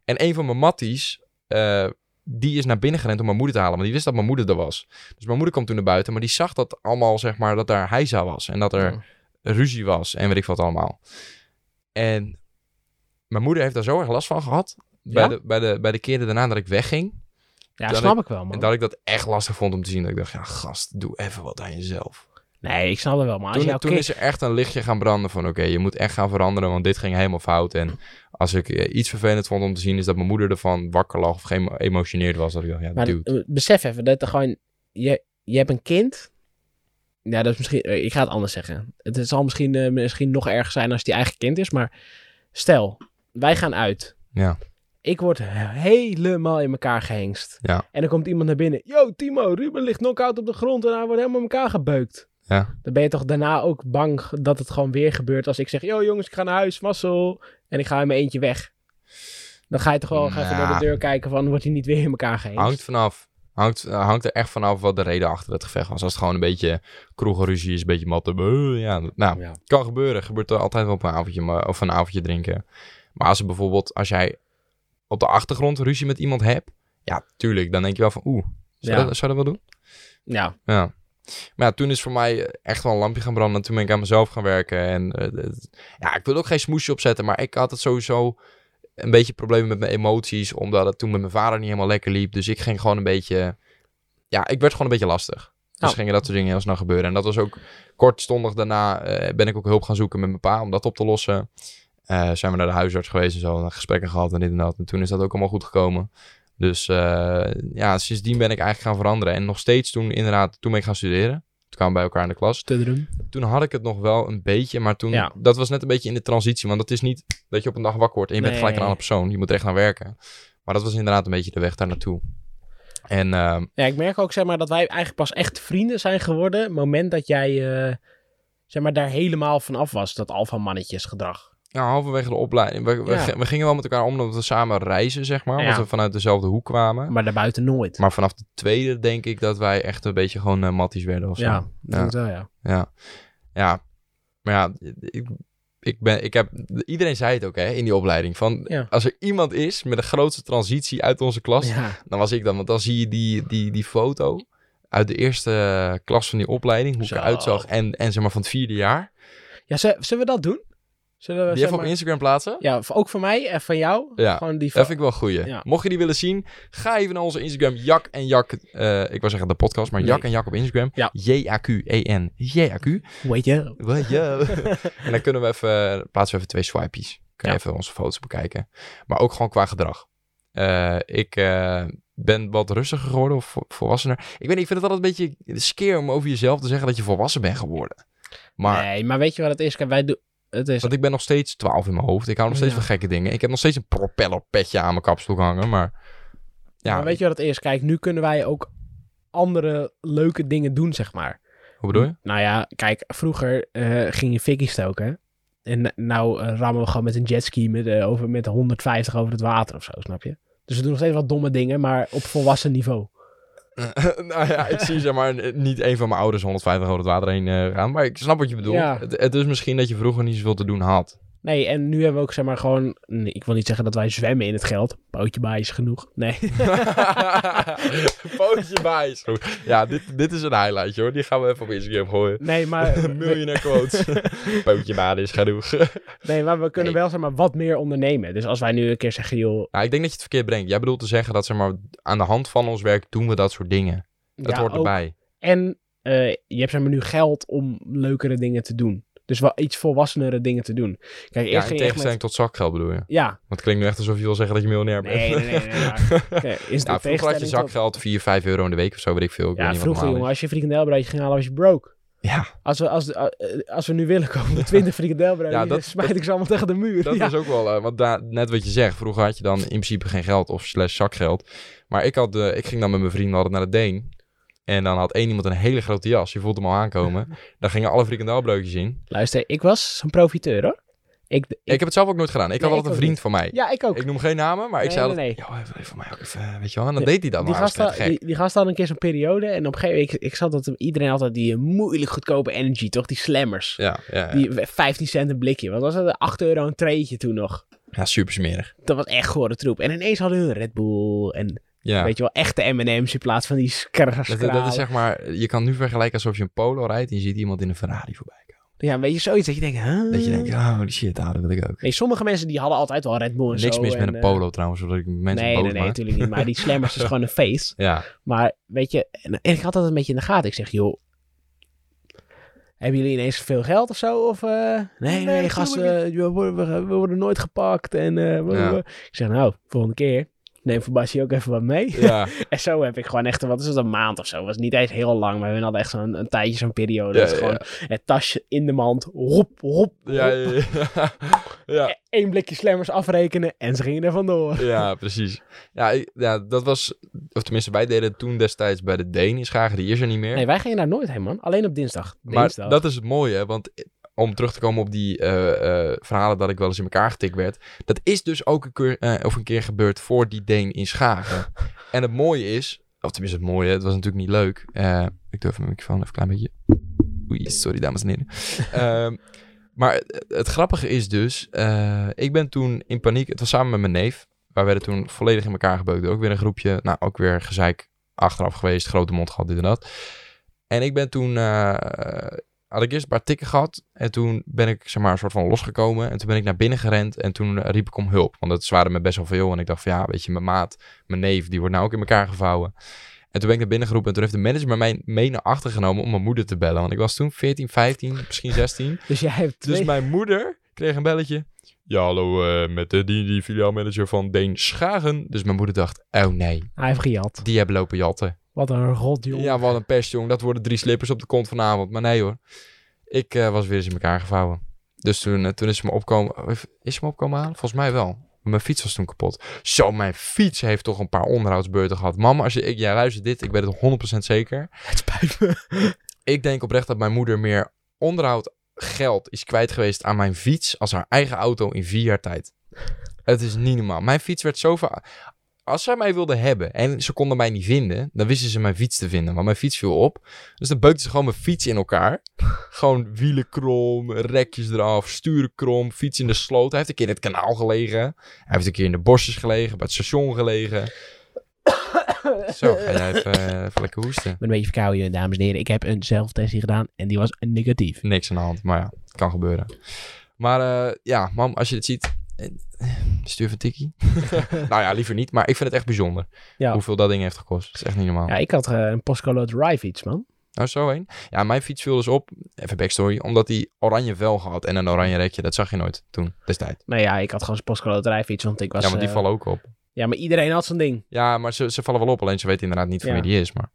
Speaker 1: En een van mijn matties, eh, die is naar binnen gerend om mijn moeder te halen. Want die wist dat mijn moeder er was. Dus mijn moeder kwam toen naar buiten, maar die zag dat allemaal, zeg maar, dat daar hijza was. En dat er
Speaker 2: Ja.
Speaker 1: ruzie was en weet ik wat allemaal. En mijn moeder heeft daar zo erg last van gehad. Bij,
Speaker 2: Ja?
Speaker 1: de, bij, de, bij de keren daarna dat ik wegging.
Speaker 2: Ja,
Speaker 1: Dat
Speaker 2: snap ik wel, man.
Speaker 1: En dat ik dat echt lastig vond om te zien. Dat ik dacht, ja gast, doe even wat aan jezelf.
Speaker 2: Nee, ik snap het wel, maar als
Speaker 1: Toen,
Speaker 2: jouw
Speaker 1: toen
Speaker 2: kind...
Speaker 1: is er echt een lichtje gaan branden van oké, je moet echt gaan veranderen, want dit ging helemaal fout. En als ik eh, iets vervelend vond om te zien, is dat mijn moeder ervan wakker lag of geëmotioneerd was. Dat ik dacht, ja,
Speaker 2: Maar
Speaker 1: dude.
Speaker 2: eh, besef even dat er gewoon... Je, je hebt een kind... Ja, dat is misschien... eh, Ik ga het anders zeggen. Het zal misschien, eh, misschien nog erger zijn als het je eigen kind is, maar... Stel, wij gaan uit.
Speaker 1: Ja.
Speaker 2: Ik word he- helemaal in elkaar gehengst.
Speaker 1: Ja.
Speaker 2: En dan komt iemand naar binnen. Yo, Timo, Ruben ligt knock-out op de grond en hij wordt helemaal in elkaar gebeukt.
Speaker 1: Ja.
Speaker 2: Dan ben je toch daarna ook bang g- dat het gewoon weer gebeurt als ik zeg... Yo, jongens, ik ga naar huis, mazzel. En ik ga in mijn eentje weg. Dan ga je toch wel gaan even
Speaker 1: Nou.
Speaker 2: door de deur kijken van... Wordt hij niet weer in elkaar gehengst?
Speaker 1: Hangt vanaf. Hangt, eh, hangt er echt vanaf wat de reden achter het gevecht was. Als het gewoon een beetje kroegeruzie is, een beetje matte. eh, Ja, nou,
Speaker 2: Ja.
Speaker 1: kan gebeuren. Gebeurt er altijd wel op een avondje, maar, of een avondje drinken. Maar als er bijvoorbeeld, als jij op de achtergrond ruzie met iemand hebt. Ja, tuurlijk. Dan denk je wel van, oeh, zou,
Speaker 2: Ja.
Speaker 1: dat, zou dat wel doen?
Speaker 2: Ja,
Speaker 1: Ja. Maar ja, toen is voor mij echt wel een lampje gaan branden. En toen ben ik aan mezelf gaan werken. En eh, het- ja, ik wilde ook geen smoesje opzetten. Maar ik had het sowieso een beetje problemen met mijn emoties. Omdat het toen met mijn vader niet helemaal lekker liep. Dus ik ging gewoon een beetje... Ja, ik werd gewoon een beetje lastig. Dus
Speaker 2: Oh.
Speaker 1: gingen dat soort dingen heel snel gebeuren. En dat was ook kortstondig daarna eh, ben ik ook hulp gaan zoeken met mijn pa om dat op te lossen. Eh, zijn we naar de huisarts geweest en zo. En gesprekken gehad en dit en dat. En toen is dat ook allemaal goed gekomen. Dus eh, ja, sindsdien ben ik eigenlijk gaan veranderen. En nog steeds toen, inderdaad, toen ben ik gaan studeren. Toen kwamen we bij elkaar in de klas.
Speaker 2: Tudrum.
Speaker 1: Toen had ik het nog wel een beetje, maar toen...
Speaker 2: Ja.
Speaker 1: Dat was net een beetje in de transitie. Want dat is niet dat je op een dag wakker wordt en je bent
Speaker 2: Nee.
Speaker 1: gelijk een andere persoon. Je moet er echt aan werken. Maar dat was inderdaad een beetje de weg daar naartoe. En ehm,
Speaker 2: Ja, ik merk ook zeg maar dat wij eigenlijk pas echt vrienden zijn geworden. het moment dat jij eh, zeg maar, daar helemaal van af was. Dat alfa mannetjesgedrag.
Speaker 1: ja, halverwege de opleiding... We, we
Speaker 2: Ja.
Speaker 1: g- we gingen wel met elkaar om omdat we samen reizen, zeg maar. Omdat
Speaker 2: Ja.
Speaker 1: we vanuit dezelfde hoek kwamen.
Speaker 2: Maar daarbuiten nooit.
Speaker 1: Maar vanaf de tweede denk ik dat wij echt een beetje gewoon eh, matties werden of zo.
Speaker 2: ja, dat
Speaker 1: Ja.
Speaker 2: is wel ja.
Speaker 1: Ja. Ja. Maar ja, ik, ik ben, ik heb, iedereen zei het ook hè, in die opleiding. Van,
Speaker 2: Ja.
Speaker 1: Als er iemand is met de grootste transitie uit onze klas,
Speaker 2: Ja,
Speaker 1: dan was ik dan. Want dan zie je die, die, die foto uit de eerste eh, klas van die opleiding, hoe
Speaker 2: Zo.
Speaker 1: ik eruit zag. En, en zeg maar van het vierde jaar.
Speaker 2: ja z- zullen we dat doen? Zullen we,
Speaker 1: Die
Speaker 2: zeg
Speaker 1: even op
Speaker 2: maar-
Speaker 1: Instagram plaatsen.
Speaker 2: Ja, v- ook van mij en van jou.
Speaker 1: Ja,
Speaker 2: Gewoon die
Speaker 1: Dat vind ik wel een goeie.
Speaker 2: Ja.
Speaker 1: Mocht je die willen zien, ga even naar onze Instagram. Jak en Jak. eh, ik wou zeggen de podcast, maar
Speaker 2: Nee.
Speaker 1: Jak en Jak op Instagram.
Speaker 2: Ja.
Speaker 1: J-A-Q-E-N. J-A-Q.
Speaker 2: Weet je?
Speaker 1: Wat, ja. en dan kunnen we even, plaatsen we even twee swipies. Kun je
Speaker 2: Ja.
Speaker 1: even onze foto's bekijken. Maar ook gewoon qua gedrag. Eh, ik eh, ben wat rustiger geworden of vo- volwassener. Ik weet niet, ik vind het altijd een beetje skeer om over jezelf te zeggen dat je volwassen bent geworden. Maar
Speaker 2: Nee, maar weet je wat het is? Kijk, wij doen... Het is...
Speaker 1: want ik ben nog steeds 12 in mijn hoofd. Ik hou nog steeds
Speaker 2: Ja.
Speaker 1: van gekke dingen. Ik heb nog steeds een propellerpetje aan mijn kapstok hangen. Maar ja,
Speaker 2: maar weet je wat het is? Kijk, nu kunnen wij ook andere leuke dingen doen, zeg maar.
Speaker 1: hoe bedoel je?
Speaker 2: Nou ja, kijk, vroeger eh, ging je fikkie stoken. En n- nou eh, rammen we gewoon met een jetski met, eh, over, met 150 over het water of zo, snap je? Dus we doen nog steeds wat domme dingen, maar op volwassen niveau.
Speaker 1: nou ja, ik zie zeg maar niet een van mijn ouders 150 over het water heen eh, gaan. Maar ik snap wat je bedoelt.
Speaker 2: Ja.
Speaker 1: Het, het is misschien dat je vroeger niet zoveel te doen had.
Speaker 2: Nee, en nu hebben we ook zeg maar gewoon... nee, ik wil niet zeggen dat wij zwemmen in het geld. Bootje bij is genoeg. Nee.
Speaker 1: Pootje bij is goed. Ja, dit, dit is een highlight, hoor. Die gaan we even op Instagram gooien.
Speaker 2: Nee, maar...
Speaker 1: Millionaire quotes. Pootje bij is genoeg.
Speaker 2: Nee, maar we kunnen wel zeg maar wat meer ondernemen. Dus als wij nu een keer zeggen, joh...
Speaker 1: nou, ik denk dat je het verkeerd brengt. Jij bedoelt te zeggen dat zeg maar, aan de hand van ons werk doen we dat soort dingen. Dat
Speaker 2: ja,
Speaker 1: hoort
Speaker 2: ook-
Speaker 1: erbij.
Speaker 2: En eh, je hebt zeg maar nu geld om leukere dingen te doen. Dus wel iets volwassenere dingen te doen. Kijk,
Speaker 1: Ja, in
Speaker 2: eerst ging je echt
Speaker 1: tegenstelling
Speaker 2: met...
Speaker 1: tot zakgeld bedoel je. Want
Speaker 2: Ja,
Speaker 1: het klinkt nu echt alsof je wil zeggen dat je miljonair bent.
Speaker 2: nee, nee, nee. nee, maar- Kijk, is het
Speaker 1: Nou,
Speaker 2: in
Speaker 1: vroeger had je
Speaker 2: tegenstelling tot-
Speaker 1: zakgeld 4, 5 euro in de week of zo, weet ik veel. Ik weet
Speaker 2: Ja,
Speaker 1: niet
Speaker 2: vroeger
Speaker 1: wat normaal
Speaker 2: jongen, als je een frikandelbroodje ging halen, was je broke.
Speaker 1: is. Ja,
Speaker 2: Als we, als, eh, eh, als we nu willen komen met 20 frikandelbroodjes,
Speaker 1: Ja, dat-
Speaker 2: smijt ik ze allemaal tegen de muur.
Speaker 1: dat
Speaker 2: Ja.
Speaker 1: is ook wel... eh, want daar, net wat je zegt, vroeger had je dan in principe geen geld of slash zakgeld. Maar ik, had, eh, ik ging dan met mijn vrienden hadden naar de Deen. En dan had één iemand een hele grote jas. Je voelt hem al aankomen. Daar gingen alle frikandelbroodjes in.
Speaker 2: Luister, ik was zo'n profiteur hoor. Ik, ik,
Speaker 1: Ik heb het zelf ook nooit gedaan. Ik had
Speaker 2: Nee, ik
Speaker 1: altijd een
Speaker 2: ook
Speaker 1: vriend van mij.
Speaker 2: ja, ik ook.
Speaker 1: Ik noem geen namen, maar ik
Speaker 2: Nee,
Speaker 1: zei
Speaker 2: nee,
Speaker 1: altijd... "Yo, even, even mij ook even, eh, weet je wel. En dan deed hij dat
Speaker 2: die,
Speaker 1: maar. Dat
Speaker 2: gast
Speaker 1: was
Speaker 2: had,
Speaker 1: vet gek.
Speaker 2: die, die gast had een keer zo'n periode en op een gegeven moment, ik, ik zat dat iedereen altijd die eh, moeilijk goedkope energy, toch? Die slammers.
Speaker 1: Ja, ja, ja.
Speaker 2: Die eh, 15 cent een blikje. Wat was dat? 8 euro een treetje toen nog.
Speaker 1: ja super smerig.
Speaker 2: Dat was echt gore troep. En ineens hadden hun Red Bull en
Speaker 1: Ja.
Speaker 2: weet je wel, echte M&M's in plaats van die skraas.
Speaker 1: Dat, dat is zeg maar, je kan nu vergelijken alsof je een polo rijdt en je ziet iemand in een Ferrari voorbij komen.
Speaker 2: Ja, weet je, zoiets dat je denkt, huh?
Speaker 1: Dat je denkt, oh die shit, ah, dat wil ik ook.
Speaker 2: Nee, sommige mensen die hadden altijd wel Red Bull en
Speaker 1: Niks
Speaker 2: Mm. zo
Speaker 1: mis
Speaker 2: en,
Speaker 1: met een
Speaker 2: eh,
Speaker 1: polo trouwens, zodat ik mensen
Speaker 2: nee,
Speaker 1: boos
Speaker 2: nee, nee,
Speaker 1: maak.
Speaker 2: natuurlijk niet. Maar die slammers is gewoon een feest.
Speaker 1: Ja,
Speaker 2: Maar weet je, en, en ik had dat een beetje in de gaten. Ik zeg, joh, hebben jullie ineens veel geld of zo? Of, eh, nee, nee,
Speaker 1: natuurlijk
Speaker 2: gasten, we worden, we, we worden nooit gepakt. En, eh, we-
Speaker 1: Ja.
Speaker 2: we- Ik zeg, nou, volgende keer neem voor Basje ook even wat mee.
Speaker 1: ja.
Speaker 2: En zo heb ik gewoon echt, wat is het, een maand of zo. was niet eens heel lang, maar we hadden echt zo'n een tijdje, zo'n periode.
Speaker 1: Ja,
Speaker 2: dat is
Speaker 1: ja,
Speaker 2: gewoon het tasje in de mand, hop, hop,
Speaker 1: Ja,
Speaker 2: hop.
Speaker 1: ja, ja.
Speaker 2: Eén blikje slammers afrekenen en ze gingen er vandoor.
Speaker 1: ja, precies. Ja, ik- ja, dat was, of tenminste, wij deden het toen destijds bij de Deen in Schagen, die is er niet meer.
Speaker 2: Nee, wij gingen daar nooit heen, man. Alleen op dinsdag.
Speaker 1: maar
Speaker 2: Dinsdag.
Speaker 1: dat is het mooie, hè, want eh, om terug te komen op die eh, eh, verhalen dat ik wel eens in elkaar getikt werd. Dat is dus ook een keer, eh, of een keer gebeurd voor die Deen in Schagen. en het mooie is, of tenminste het mooie, het was natuurlijk niet leuk. Eh, ik durf mijn microfoon even een klein beetje... Oei, sorry dames en heren. Ehm, maar het, het grappige is dus, eh, ik ben toen in paniek, het was samen met mijn neef. Wij werden toen volledig in elkaar gebeukt. Ook weer een groepje, nou ook weer gezeik achteraf geweest, grote mond gehad, dit en dat. En ik ben toen, eh, had ik eerst een paar tikken gehad. En toen ben ik, zeg maar, een soort van losgekomen. En toen ben ik naar binnen gerend. En toen eh, riep ik om hulp. Want het waren me best wel veel. En ik dacht van, ja, weet je, mijn maat, mijn neef, die wordt nou ook in elkaar gevouwen. En toen ben ik naar binnen geroepen. En toen heeft de manager mij mee naar achter genomen om mijn moeder te bellen. Want ik was toen 14, 15, misschien 16.
Speaker 2: Dus jij hebt twee...
Speaker 1: Dus mijn moeder kreeg een belletje. Ja, hallo, eh, met de die, die filiaalmanager van Deen Schagen. Dus mijn moeder dacht, oh nee,
Speaker 2: Hij heeft gejat.
Speaker 1: die hebben lopen jatten.
Speaker 2: Wat een rot, jongen.
Speaker 1: Ja, wat een pest, jong. Dat worden drie slippers op de kont vanavond. Maar nee, hoor. Ik eh, was weer eens in elkaar gevouwen. Dus toen, eh, toen is ze me opkomen... oh, heeft- Is ze me opkomen halen? Volgens mij wel. Mijn fiets was toen kapot. Zo, mijn fiets heeft toch een paar onderhoudsbeurten gehad. Mama, als je... Ik, ja, luister dit. Ik weet het 100% zeker.
Speaker 2: Het spijt me.
Speaker 1: Ik denk oprecht dat mijn moeder meer onderhoud geld is kwijt geweest aan mijn fiets... als haar eigen auto in vier jaar tijd. Het is niet normaal. Mijn fiets werd zo vaak... Als zij mij wilden hebben en ze konden mij niet vinden, dan wisten ze mijn fiets te vinden. Want mijn fiets viel op. Dus dan beukten ze gewoon mijn fiets in elkaar. gewoon wielen krom, rekjes eraf, sturen krom, fiets in de sloot. Hij heeft een keer in het kanaal gelegen. Hij heeft een keer in de bosjes gelegen, bij het station gelegen. Zo, ga jij even, eh, even lekker hoesten.
Speaker 2: Ik ben een beetje verkouden, dames en heren. Ik heb een zelftestje gedaan en die was negatief.
Speaker 1: Niks aan de hand, maar ja, het kan gebeuren. Maar eh, ja, mam, als je dit ziet, eh, stuur even een tikkie. nou ja, liever niet, maar ik vind het echt bijzonder.
Speaker 2: Ja.
Speaker 1: Hoeveel dat ding heeft gekost. Dat is echt niet normaal.
Speaker 2: Ja, ik had eh, een Postcolo Drive iets, man.
Speaker 1: Nou, zo heen. Ja, mijn fiets viel dus op, even backstory, omdat hij oranje vel had en een oranje rekje. Dat zag je nooit toen, destijds.
Speaker 2: Nou ja, ik had gewoon zijn postcoloterijfiets, want ik was...
Speaker 1: ja, want die
Speaker 2: eh,
Speaker 1: vallen ook op.
Speaker 2: ja, maar iedereen had zo'n ding.
Speaker 1: Ja, maar ze, ze vallen wel op, alleen ze weten inderdaad niet van
Speaker 2: Ja.
Speaker 1: wie die is. Maar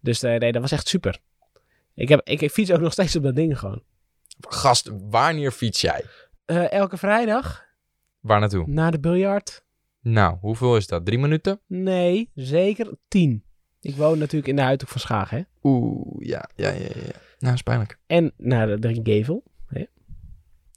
Speaker 2: Dus eh, nee, dat was echt super. Ik, heb, ik, ik fiets ook nog steeds op dat ding gewoon.
Speaker 1: gast, wanneer fiets jij?
Speaker 2: Eh, elke vrijdag,
Speaker 1: Waar naartoe?
Speaker 2: na de biljart.
Speaker 1: Nou, hoeveel is dat? Drie minuten?
Speaker 2: Nee, zeker tien. Ik woon natuurlijk in de Huidhoek van Schaag, hè.
Speaker 1: Oeh, ja, ja, ja, ja. Nou, is pijnlijk.
Speaker 2: En naar de, de Gevel.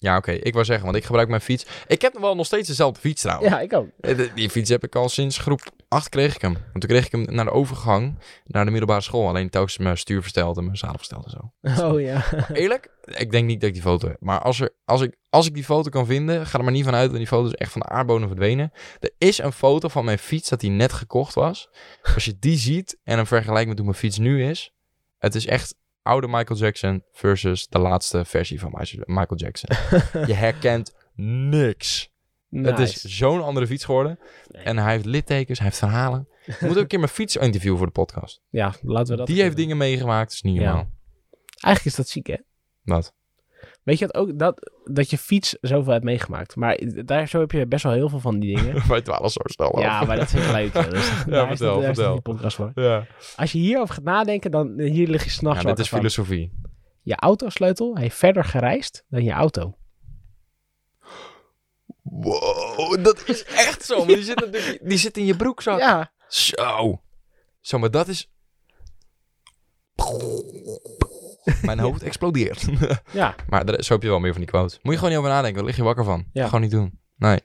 Speaker 1: Ja, oké, ik wou zeggen, want ik gebruik mijn fiets. Ik heb nog wel nog steeds dezelfde fiets trouwens.
Speaker 2: Ja, ik ook.
Speaker 1: Eh, de- Die fiets heb ik al sinds groep 8 kreeg ik hem. Want toen kreeg ik hem naar de overgang, naar de middelbare school. Alleen telkens mijn stuur versteld en mijn zadel versteld en zo.
Speaker 2: Oh ja.
Speaker 1: Eerlijk, ik denk niet dat ik die foto heb. Maar als, er, als, ik, als ik die foto kan vinden, ga er maar niet van uit. Want die foto is echt van de aardbonen verdwenen. Er is een foto van mijn fiets dat die net gekocht was. Als je die ziet en hem vergelijkt met hoe mijn fiets nu is. Het is echt oude Michael Jackson versus de laatste versie van Michael Jackson. Je herkent niks. Het is zo'n andere fiets geworden.
Speaker 2: Nee.
Speaker 1: En hij heeft littekens, hij heeft verhalen. We moeten ook een keer mijn fiets interviewen voor de podcast.
Speaker 2: Ja, laten we dat...
Speaker 1: Die heeft dingen meegemaakt, is niet
Speaker 2: Ja.
Speaker 1: normaal.
Speaker 2: Eigenlijk is dat ziek, hè.
Speaker 1: Wat?
Speaker 2: Weet je dat ook? Dat, dat je fiets zoveel hebt meegemaakt. Maar daar zo heb je best wel heel veel van die dingen.
Speaker 1: Wij dwalen zo snel
Speaker 2: ja,
Speaker 1: af.
Speaker 2: maar dat vind ik leuk. joh. Dat is- daar
Speaker 1: vertel,
Speaker 2: is dit- daar is dit
Speaker 1: vertel.
Speaker 2: die podcast voor.
Speaker 1: Ja.
Speaker 2: Als je hierover gaat nadenken, dan hier lig je
Speaker 1: Ja,
Speaker 2: s'nachts
Speaker 1: dit is
Speaker 2: wakker van.
Speaker 1: filosofie.
Speaker 2: Je autosleutel heeft verder gereisd dan je auto.
Speaker 1: Wow, dat is echt zo. Maar die, zit natuurlijk- die zit in je broekzak.
Speaker 2: Ja.
Speaker 1: Zo. Zo, maar dat is... Mijn hoofd explodeert.
Speaker 2: Ja.
Speaker 1: Maar er- zo heb je wel meer van die quotes. Moet je gewoon niet over nadenken. Daar lig je wakker van.
Speaker 2: Ja.
Speaker 1: Gewoon niet doen. Nee.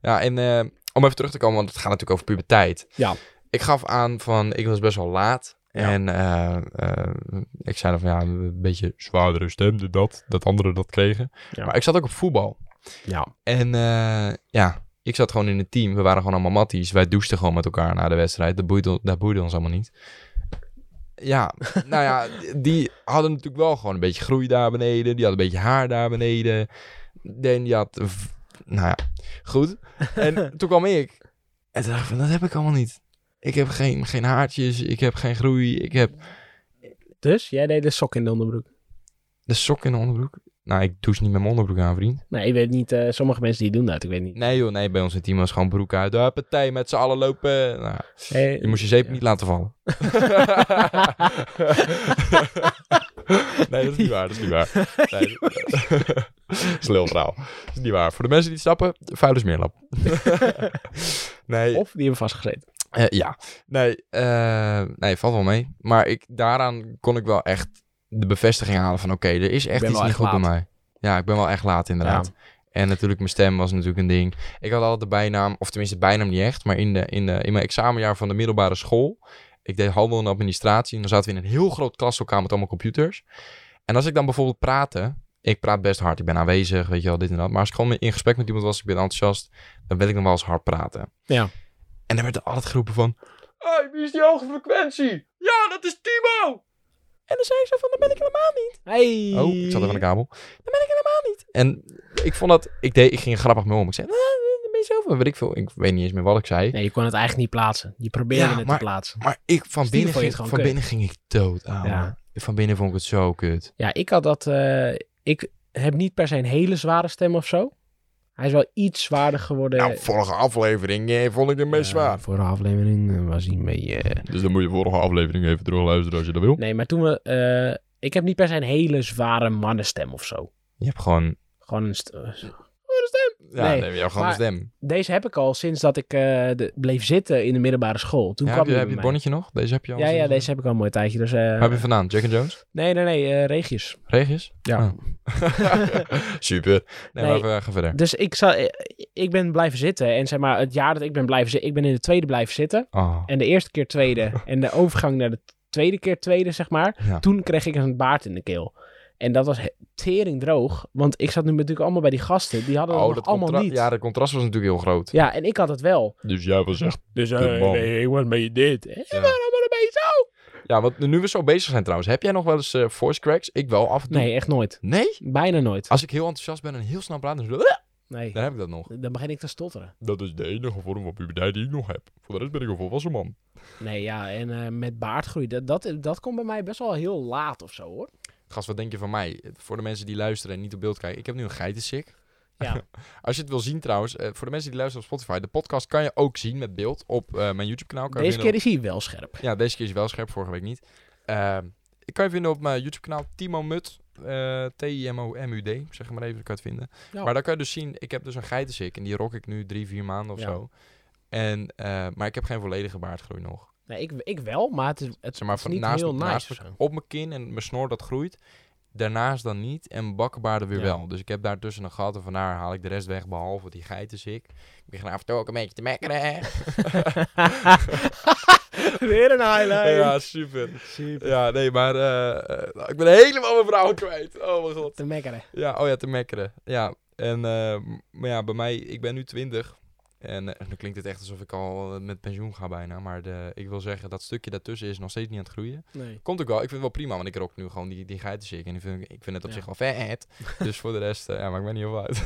Speaker 1: Ja, en eh, om even terug te komen, want het gaat natuurlijk over puberteit.
Speaker 2: Ja.
Speaker 1: Ik gaf aan van, ik was best wel laat.
Speaker 2: Ja.
Speaker 1: En eh, eh, ik zei dan van, ja, een beetje zwaardere stem, dit, dat. Dat anderen dat kregen.
Speaker 2: Ja.
Speaker 1: Maar ik zat ook op voetbal.
Speaker 2: Ja.
Speaker 1: En eh, ja, ik zat gewoon in het team. We waren gewoon allemaal matties. Wij douchten gewoon met elkaar na de wedstrijd. Dat boeide, dat boeide ons allemaal niet. Ja, nou ja, die hadden natuurlijk wel gewoon een beetje groei daar beneden. Die had een beetje haar daar beneden. En die had... Nou ja, goed. En toen kwam ik. En toen dacht ik van, dat heb ik allemaal niet. Ik heb geen, geen haartjes, ik heb geen groei, ik heb
Speaker 2: Dus jij deed de sok in de onderbroek.
Speaker 1: de sok in de onderbroek. Nou, ik douche niet met mijn onderbroek aan, vriend.
Speaker 2: Nee, ik weet niet. eh, sommige mensen die doen dat, ik weet niet.
Speaker 1: Nee joh, nee, bij ons in het team was gewoon broek uit. Uh, partij met z'n allen lopen. Nou,
Speaker 2: Hey,
Speaker 1: Je moest je zeep niet laten vallen. nee, dat is niet waar. Dat is niet waar. Nee, dat dat is een lul verhaal. Dat is niet waar. Voor de mensen die het snappen, vuile smeerlap. nee,
Speaker 2: eh, Of die hebben vastgezeten.
Speaker 1: eh, ja. Nee, eh, nee, valt wel mee. Maar ik, daaraan kon ik wel echt de bevestiging halen van... Oké, er is echt
Speaker 2: ben
Speaker 1: iets
Speaker 2: wel
Speaker 1: niet
Speaker 2: echt
Speaker 1: goed bij
Speaker 2: laat.
Speaker 1: mij. Ja, ik ben wel echt laat inderdaad. En natuurlijk, mijn stem was natuurlijk een ding. Ik had altijd de bijnaam, of tenminste bijnaam niet echt, maar in, de, in, de, in mijn examenjaar van de middelbare school. Ik deed handel en administratie en dan zaten we in een heel groot klaslokaal met allemaal computers. En als ik dan bijvoorbeeld praatte, ik praat best hard, ik ben aanwezig, weet je wel, dit en dat. Maar als ik gewoon in gesprek met iemand was, ik ben enthousiast, dan wil ik nog wel eens hard praten.
Speaker 2: Ja.
Speaker 1: En dan werd er altijd geroepen van, hey, wie is die hoge frequentie? Ja, dat is Timo! En dan zei ik zo van, dat ben ik helemaal niet.
Speaker 2: Hey.
Speaker 1: Oh, ik zat even aan de kabel. Dan ben ik helemaal niet. En ik vond dat, ik, deed, ik ging er grappig mee om. Ik zei, "Ah, daar ben je zelf wel." weet ik veel. Ik weet niet eens meer wat ik zei.
Speaker 2: Nee, je kon het eigenlijk niet plaatsen. Je probeerde
Speaker 1: Ja,
Speaker 2: het
Speaker 1: maar-
Speaker 2: te plaatsen.
Speaker 1: Maar ik, van, binnen
Speaker 2: Stiekem vond je het
Speaker 1: ging,
Speaker 2: gewoon
Speaker 1: van
Speaker 2: kut.
Speaker 1: binnen ging ik dood aan.
Speaker 2: Ja.
Speaker 1: Van binnen vond ik het zo kut.
Speaker 2: Ja, ik had dat. eh, ik heb niet per se een hele zware stem of zo. Hij is wel iets zwaarder geworden.
Speaker 1: Nou, vorige aflevering eh, vond ik het
Speaker 2: Eh, Ja, Voor de aflevering eh, was hij een beetje. eh,
Speaker 1: Dus dan moet je vorige aflevering even terugluisteren als je dat wil.
Speaker 2: Nee, maar toen we. eh, ik heb niet per se een hele zware mannenstem of zo.
Speaker 1: Je hebt gewoon...
Speaker 2: Gewoon een. st- eh,
Speaker 1: Ja,
Speaker 2: Nee,
Speaker 1: nee, je hebt gewoon
Speaker 2: maar-
Speaker 1: een stem.
Speaker 2: Deze heb ik al sinds dat ik eh, de- bleef zitten in de middelbare school. Toen
Speaker 1: Ja,
Speaker 2: kwam
Speaker 1: heb je,
Speaker 2: die
Speaker 1: heb je
Speaker 2: bij
Speaker 1: het
Speaker 2: mij.
Speaker 1: bonnetje nog? Deze heb je al
Speaker 2: Ja, ja,
Speaker 1: sinds-
Speaker 2: deze heb ik al een mooi tijdje. Dus, eh,
Speaker 1: Waar heb je vandaan? Jack and Jones?
Speaker 2: Nee, nee, nee, eh, regius.
Speaker 1: Regis?
Speaker 2: Ja.
Speaker 1: Ah. Super. Nee,
Speaker 2: Nee.
Speaker 1: maar even, eh, ga verder.
Speaker 2: Dus ik, zal, eh, ik ben blijven zitten. En zeg maar, het jaar dat ik ben blijven zitten, ik ben in de tweede blijven zitten.
Speaker 1: Oh.
Speaker 2: En de eerste keer tweede. En de overgang naar de tweede keer tweede, zeg maar.
Speaker 1: Ja.
Speaker 2: Toen kreeg ik een baard in de keel. En dat was he- tering droog. Want ik zat nu natuurlijk allemaal bij die gasten. Die hadden
Speaker 1: Oh,
Speaker 2: het
Speaker 1: dat
Speaker 2: nog allemaal
Speaker 1: contra-
Speaker 2: niet.
Speaker 1: Ja,
Speaker 2: Ja,
Speaker 1: dat contrast was natuurlijk heel groot.
Speaker 2: en ik had het wel.
Speaker 1: Dus jij was echt...
Speaker 2: Dus
Speaker 1: De man.
Speaker 2: ik was je dit. Ik
Speaker 1: Ja.
Speaker 2: was allemaal een beetje zo.
Speaker 1: Ja, want nu we zo bezig zijn trouwens. Heb jij nog wel eens eh, voice cracks? Ik wel af en toe.
Speaker 2: Nee, echt nooit.
Speaker 1: Nee?
Speaker 2: Bijna nooit.
Speaker 1: Ah. Als ik heel enthousiast ben en heel snel praat, dan... zo-
Speaker 2: Nee,
Speaker 1: Daar heb ik dat nog.
Speaker 2: dan begin ik te stotteren.
Speaker 1: Dat is de enige vorm van puberteit die ik nog heb. Voor de rest ben ik een volwassen man.
Speaker 2: Nee, ja, en eh, met baardgroei, dat, dat, dat komt bij mij best wel heel laat of zo, hoor.
Speaker 1: Gast, wat denk je van mij? Voor de mensen die luisteren en niet op beeld kijken. Ik heb nu een geitensik.
Speaker 2: Ja.
Speaker 1: Als je het wil zien trouwens, eh, voor de mensen die luisteren op Spotify. De podcast kan je ook zien met beeld op eh, mijn YouTube kanaal. Kan je
Speaker 2: Deze keer
Speaker 1: vinden
Speaker 2: is hij wel scherp.
Speaker 1: op- Ja, deze keer is wel scherp, vorige week niet. Ehm, ik kan je vinden op mijn YouTube kanaal Timo Mut. eh, T-I-M-O-M-U-D. Zeg maar even, ik kan je het vinden.
Speaker 2: Ja.
Speaker 1: Maar daar kan je dus zien, ik heb dus een geitensik. En die rok ik nu drie, vier maanden of
Speaker 2: Ja.
Speaker 1: zo. En, eh, maar ik heb geen volledige baardgroei nog.
Speaker 2: Nee, ik, ik wel, maar het is, het
Speaker 1: Zeg maar,
Speaker 2: is
Speaker 1: van
Speaker 2: niet
Speaker 1: naast,
Speaker 2: heel nice
Speaker 1: naast
Speaker 2: of zo.
Speaker 1: op mijn kin en mijn snor dat groeit. Daarnaast dan niet en bakkenbaarden weer
Speaker 2: Ja.
Speaker 1: wel. Dus ik heb daartussen een gat en vandaar haal ik de rest weg, behalve die geitensik. Ik begin af en toe ook een beetje te mekkeren.
Speaker 2: Weer een highlight.
Speaker 1: ja, super.
Speaker 2: Super.
Speaker 1: Ja, nee, maar eh, eh, ik ben helemaal mijn vrouw kwijt. Oh mijn god.
Speaker 2: Te mekkeren.
Speaker 1: Ja, oh ja, te mekkeren. Ja, en eh, m- maar ja, bij mij, ik ben nu twintig. En eh, dan klinkt het echt alsof ik al eh, met pensioen ga bijna. Maar de, ik wil zeggen, dat stukje daartussen is nog steeds niet aan het groeien.
Speaker 2: Nee.
Speaker 1: Komt ook wel. Ik vind het wel prima, want ik rook nu gewoon die, die geitensik. En ik vind, ik vind het op
Speaker 2: Ja.
Speaker 1: zich wel vet. dus voor de rest, eh, ja, maakt mij niet heel veel uit.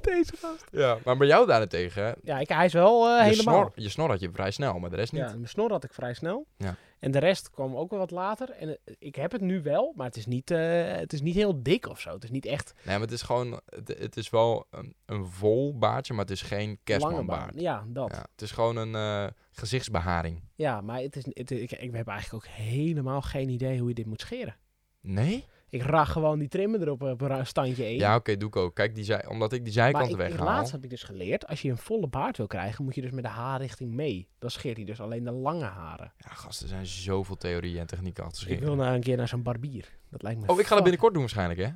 Speaker 2: Deze gast.
Speaker 1: ja, maar bij jou daarentegen, hè,
Speaker 2: Ja, ik, hij is wel eh,
Speaker 1: je,
Speaker 2: helemaal...
Speaker 1: snor, je snor had je vrij snel, maar de rest niet.
Speaker 2: Ja, mijn snor had ik vrij snel.
Speaker 1: Ja.
Speaker 2: En de rest kwam ook wel wat later. En eh, ik heb het nu wel, maar het is niet, eh, het is niet heel dik of zo. Het is niet echt
Speaker 1: Nee, maar het is gewoon, het, het is wel een, een vol baardje, maar het is geen
Speaker 2: lange
Speaker 1: kerstmanbaard.
Speaker 2: baan. Ja, dat. Ja,
Speaker 1: Ja, het is gewoon een eh, gezichtsbeharing.
Speaker 2: maar het is, het, ik, ik heb eigenlijk ook helemaal geen idee hoe je dit moet scheren.
Speaker 1: Nee?
Speaker 2: Ik raag gewoon die trimmen erop eh, op een ra- standje in.
Speaker 1: Ja, oké, doe ik ook. Kijk, die zij, omdat ik die
Speaker 2: maar
Speaker 1: zijkant
Speaker 2: ik, ik-
Speaker 1: weghaal.
Speaker 2: laatst heb ik dus geleerd, als je een volle baard wil krijgen, moet je dus met de haarrichting mee. Dan scheert hij dus alleen de lange haren.
Speaker 1: Ja, gast, er zijn zoveel theorieën en technieken achter
Speaker 2: ik
Speaker 1: scheren.
Speaker 2: wil nou een keer naar zo'n barbier. Dat lijkt me
Speaker 1: Oh, ik ga dat
Speaker 2: fuck-
Speaker 1: binnenkort doen waarschijnlijk, hè?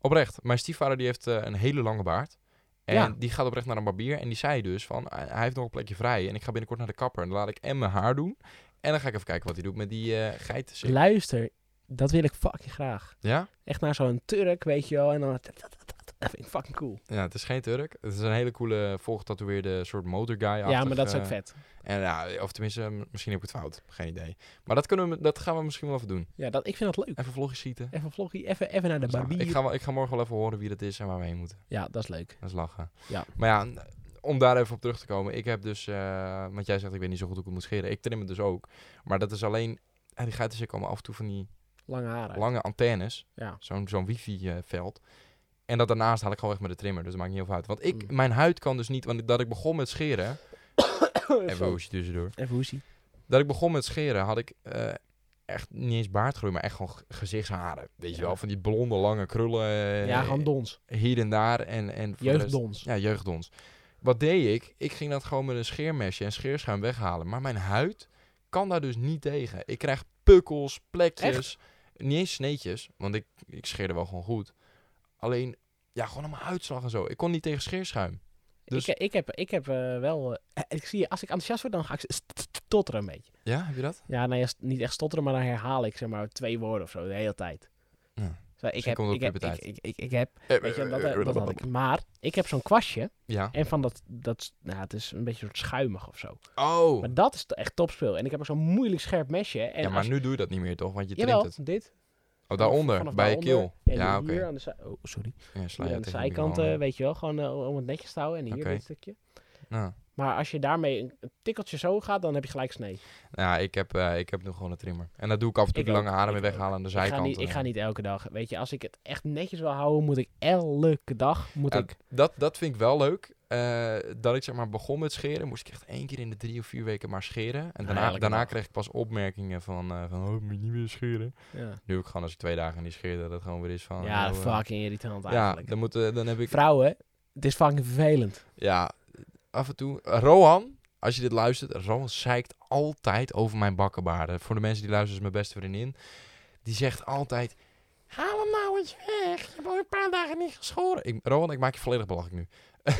Speaker 1: Oprecht. Mijn stiefvader die heeft eh, een hele lange baard. En
Speaker 2: Ja.
Speaker 1: die gaat oprecht naar een barbier. En die zei dus van, eh, hij heeft nog een plekje vrij. En ik ga binnenkort naar de kapper. En dan laat ik en mijn haar doen. En dan ga ik even kijken wat hij doet met die eh geiten.
Speaker 2: Luister, dat wil ik fucking graag.
Speaker 1: Ja?
Speaker 2: Echt naar zo'n Turk, weet je wel. En dan... Dat vind ik fucking cool.
Speaker 1: Ja, het is geen Turk. Het is een hele coole, volgetatoeëerde soort motorguy.
Speaker 2: ja, maar dat is ook vet.
Speaker 1: En, ja, of tenminste, eh, misschien heb ik het fout. Geen idee. Maar dat, kunnen we, dat gaan we misschien wel even doen.
Speaker 2: Ja, dat, ik vind dat leuk.
Speaker 1: Even vlogjes schieten.
Speaker 2: Even vloggie, even, even naar de
Speaker 1: Dat is lachen.
Speaker 2: barbier.
Speaker 1: ik, ga wel, ik ga morgen wel even horen wie dat is en waar we heen moeten.
Speaker 2: Ja, dat is leuk.
Speaker 1: Dat is lachen.
Speaker 2: Ja.
Speaker 1: Maar ja, n- om daar even op terug te komen. Ik heb dus, eh, want jij zegt ik weet niet zo goed hoe ik het moet scheren. Ik trim het dus ook. Maar dat is alleen, en die gaat dus ik allemaal af en toe van die
Speaker 2: Lange haren.
Speaker 1: lange antennes.
Speaker 2: Ja.
Speaker 1: Zo'n zo'n wifi-veld. en dat daarnaast haal ik gewoon weg met de trimmer. Dus dat maakt niet heel veel uit. Want ik,
Speaker 2: Mm.
Speaker 1: mijn huid kan dus niet, want dat ik begon met scheren. Even
Speaker 2: Zo.
Speaker 1: hoesje tussendoor.
Speaker 2: Even hoesie.
Speaker 1: Dat ik begon met scheren had ik eh, echt niet eens baardgroei, maar echt gewoon g- gezichtsharen. Weet je
Speaker 2: Ja.
Speaker 1: wel, van die blonde lange krullen. eh,
Speaker 2: ja, gewoon dons.
Speaker 1: Hier en daar. En, en voor de rest-
Speaker 2: Jeugddons.
Speaker 1: ja, jeugdons. Wat deed ik? Ik ging dat gewoon met een scheermesje en scheerschuim weghalen. Maar mijn huid kan daar dus niet tegen. Ik krijg pukkels, plekjes. Niet eens sneetjes, want ik, ik scheerde wel gewoon goed. Alleen, ja, gewoon aan mijn huidslag en zo. Ik kon niet tegen scheerschuim. Dus-
Speaker 2: Ik, ik heb, ik heb eh, wel... eh, ik zie je, als ik enthousiast word, dan ga ik stotteren een beetje.
Speaker 1: Ja, heb je dat?
Speaker 2: Ja, nou ja, st- niet echt stotteren, maar dan herhaal ik zeg maar twee woorden of zo de hele tijd.
Speaker 1: Ja.
Speaker 2: Zo, ik,
Speaker 1: Misschien
Speaker 2: heb,
Speaker 1: komt het
Speaker 2: ik,
Speaker 1: op
Speaker 2: heb, ik,
Speaker 1: puberteit.
Speaker 2: ik, ik, ik heb... Weet je, dat, eh, dat had ik. Maar ik heb zo'n kwastje.
Speaker 1: Ja.
Speaker 2: En van dat... dat nou, het is een beetje soort schuimig of zo.
Speaker 1: Oh,
Speaker 2: Maar dat is t- echt topspeel. En ik heb ook zo'n moeilijk scherp mesje. En
Speaker 1: ja,
Speaker 2: als
Speaker 1: maar
Speaker 2: je-
Speaker 1: nu doe je dat niet meer toch? Want je trimt
Speaker 2: Jawel,
Speaker 1: het.
Speaker 2: dit.
Speaker 1: Oh, daaronder,
Speaker 2: Vanaf
Speaker 1: bij je
Speaker 2: daaronder.
Speaker 1: keel.
Speaker 2: En
Speaker 1: Ja, oké.
Speaker 2: hier aan de, zij- oh, sorry.
Speaker 1: Ja, sla
Speaker 2: Hier
Speaker 1: je
Speaker 2: aan de
Speaker 1: tegen de
Speaker 2: zijkanten,
Speaker 1: microfoon.
Speaker 2: weet je wel. Gewoon eh, om het netjes te houden. En hier
Speaker 1: Oké.
Speaker 2: dit stukje.
Speaker 1: Nou,
Speaker 2: Maar als je daarmee een een tikkeltje zo gaat, dan heb je gelijk snee.
Speaker 1: Nou, ik heb, eh, ik heb nu gewoon een trimmer. En dat doe ik af en toe
Speaker 2: Ik
Speaker 1: de lange
Speaker 2: ook,
Speaker 1: haren
Speaker 2: ik
Speaker 1: mee weghalen aan de
Speaker 2: Ik ga,
Speaker 1: zijkanten.
Speaker 2: niet, ik ga niet elke dag. Weet je, als ik het echt netjes wil houden, moet ik elke dag... Moet
Speaker 1: Ja,
Speaker 2: ik,
Speaker 1: dat, dat vind ik wel leuk. eh, dat ik zeg maar begon met scheren, moest ik echt één keer in de drie of vier weken maar scheren. En daarna,
Speaker 2: elke
Speaker 1: daarna
Speaker 2: dag.
Speaker 1: kreeg ik pas opmerkingen van, eh, van oh, moet je niet meer scheren.
Speaker 2: ja,
Speaker 1: Nu heb ik gewoon als ik twee dagen niet scheer, dat het gewoon weer is van...
Speaker 2: ja
Speaker 1: oh, eh,
Speaker 2: fucking irritant
Speaker 1: Ja,
Speaker 2: eigenlijk.
Speaker 1: dan, moet, eh, dan heb ik...
Speaker 2: Vrouwen, het is fucking vervelend.
Speaker 1: Ja, af en toe... Rohan, als je dit luistert, Rohan zeikt altijd over mijn bakkenbaarden. Voor de mensen die luisteren, is mijn beste vriendin. Die zegt altijd, haal hem nou eens weg. Je hebt al een paar dagen niet geschoren. Ik, Rohan, ik maak je volledig belachelijk nu.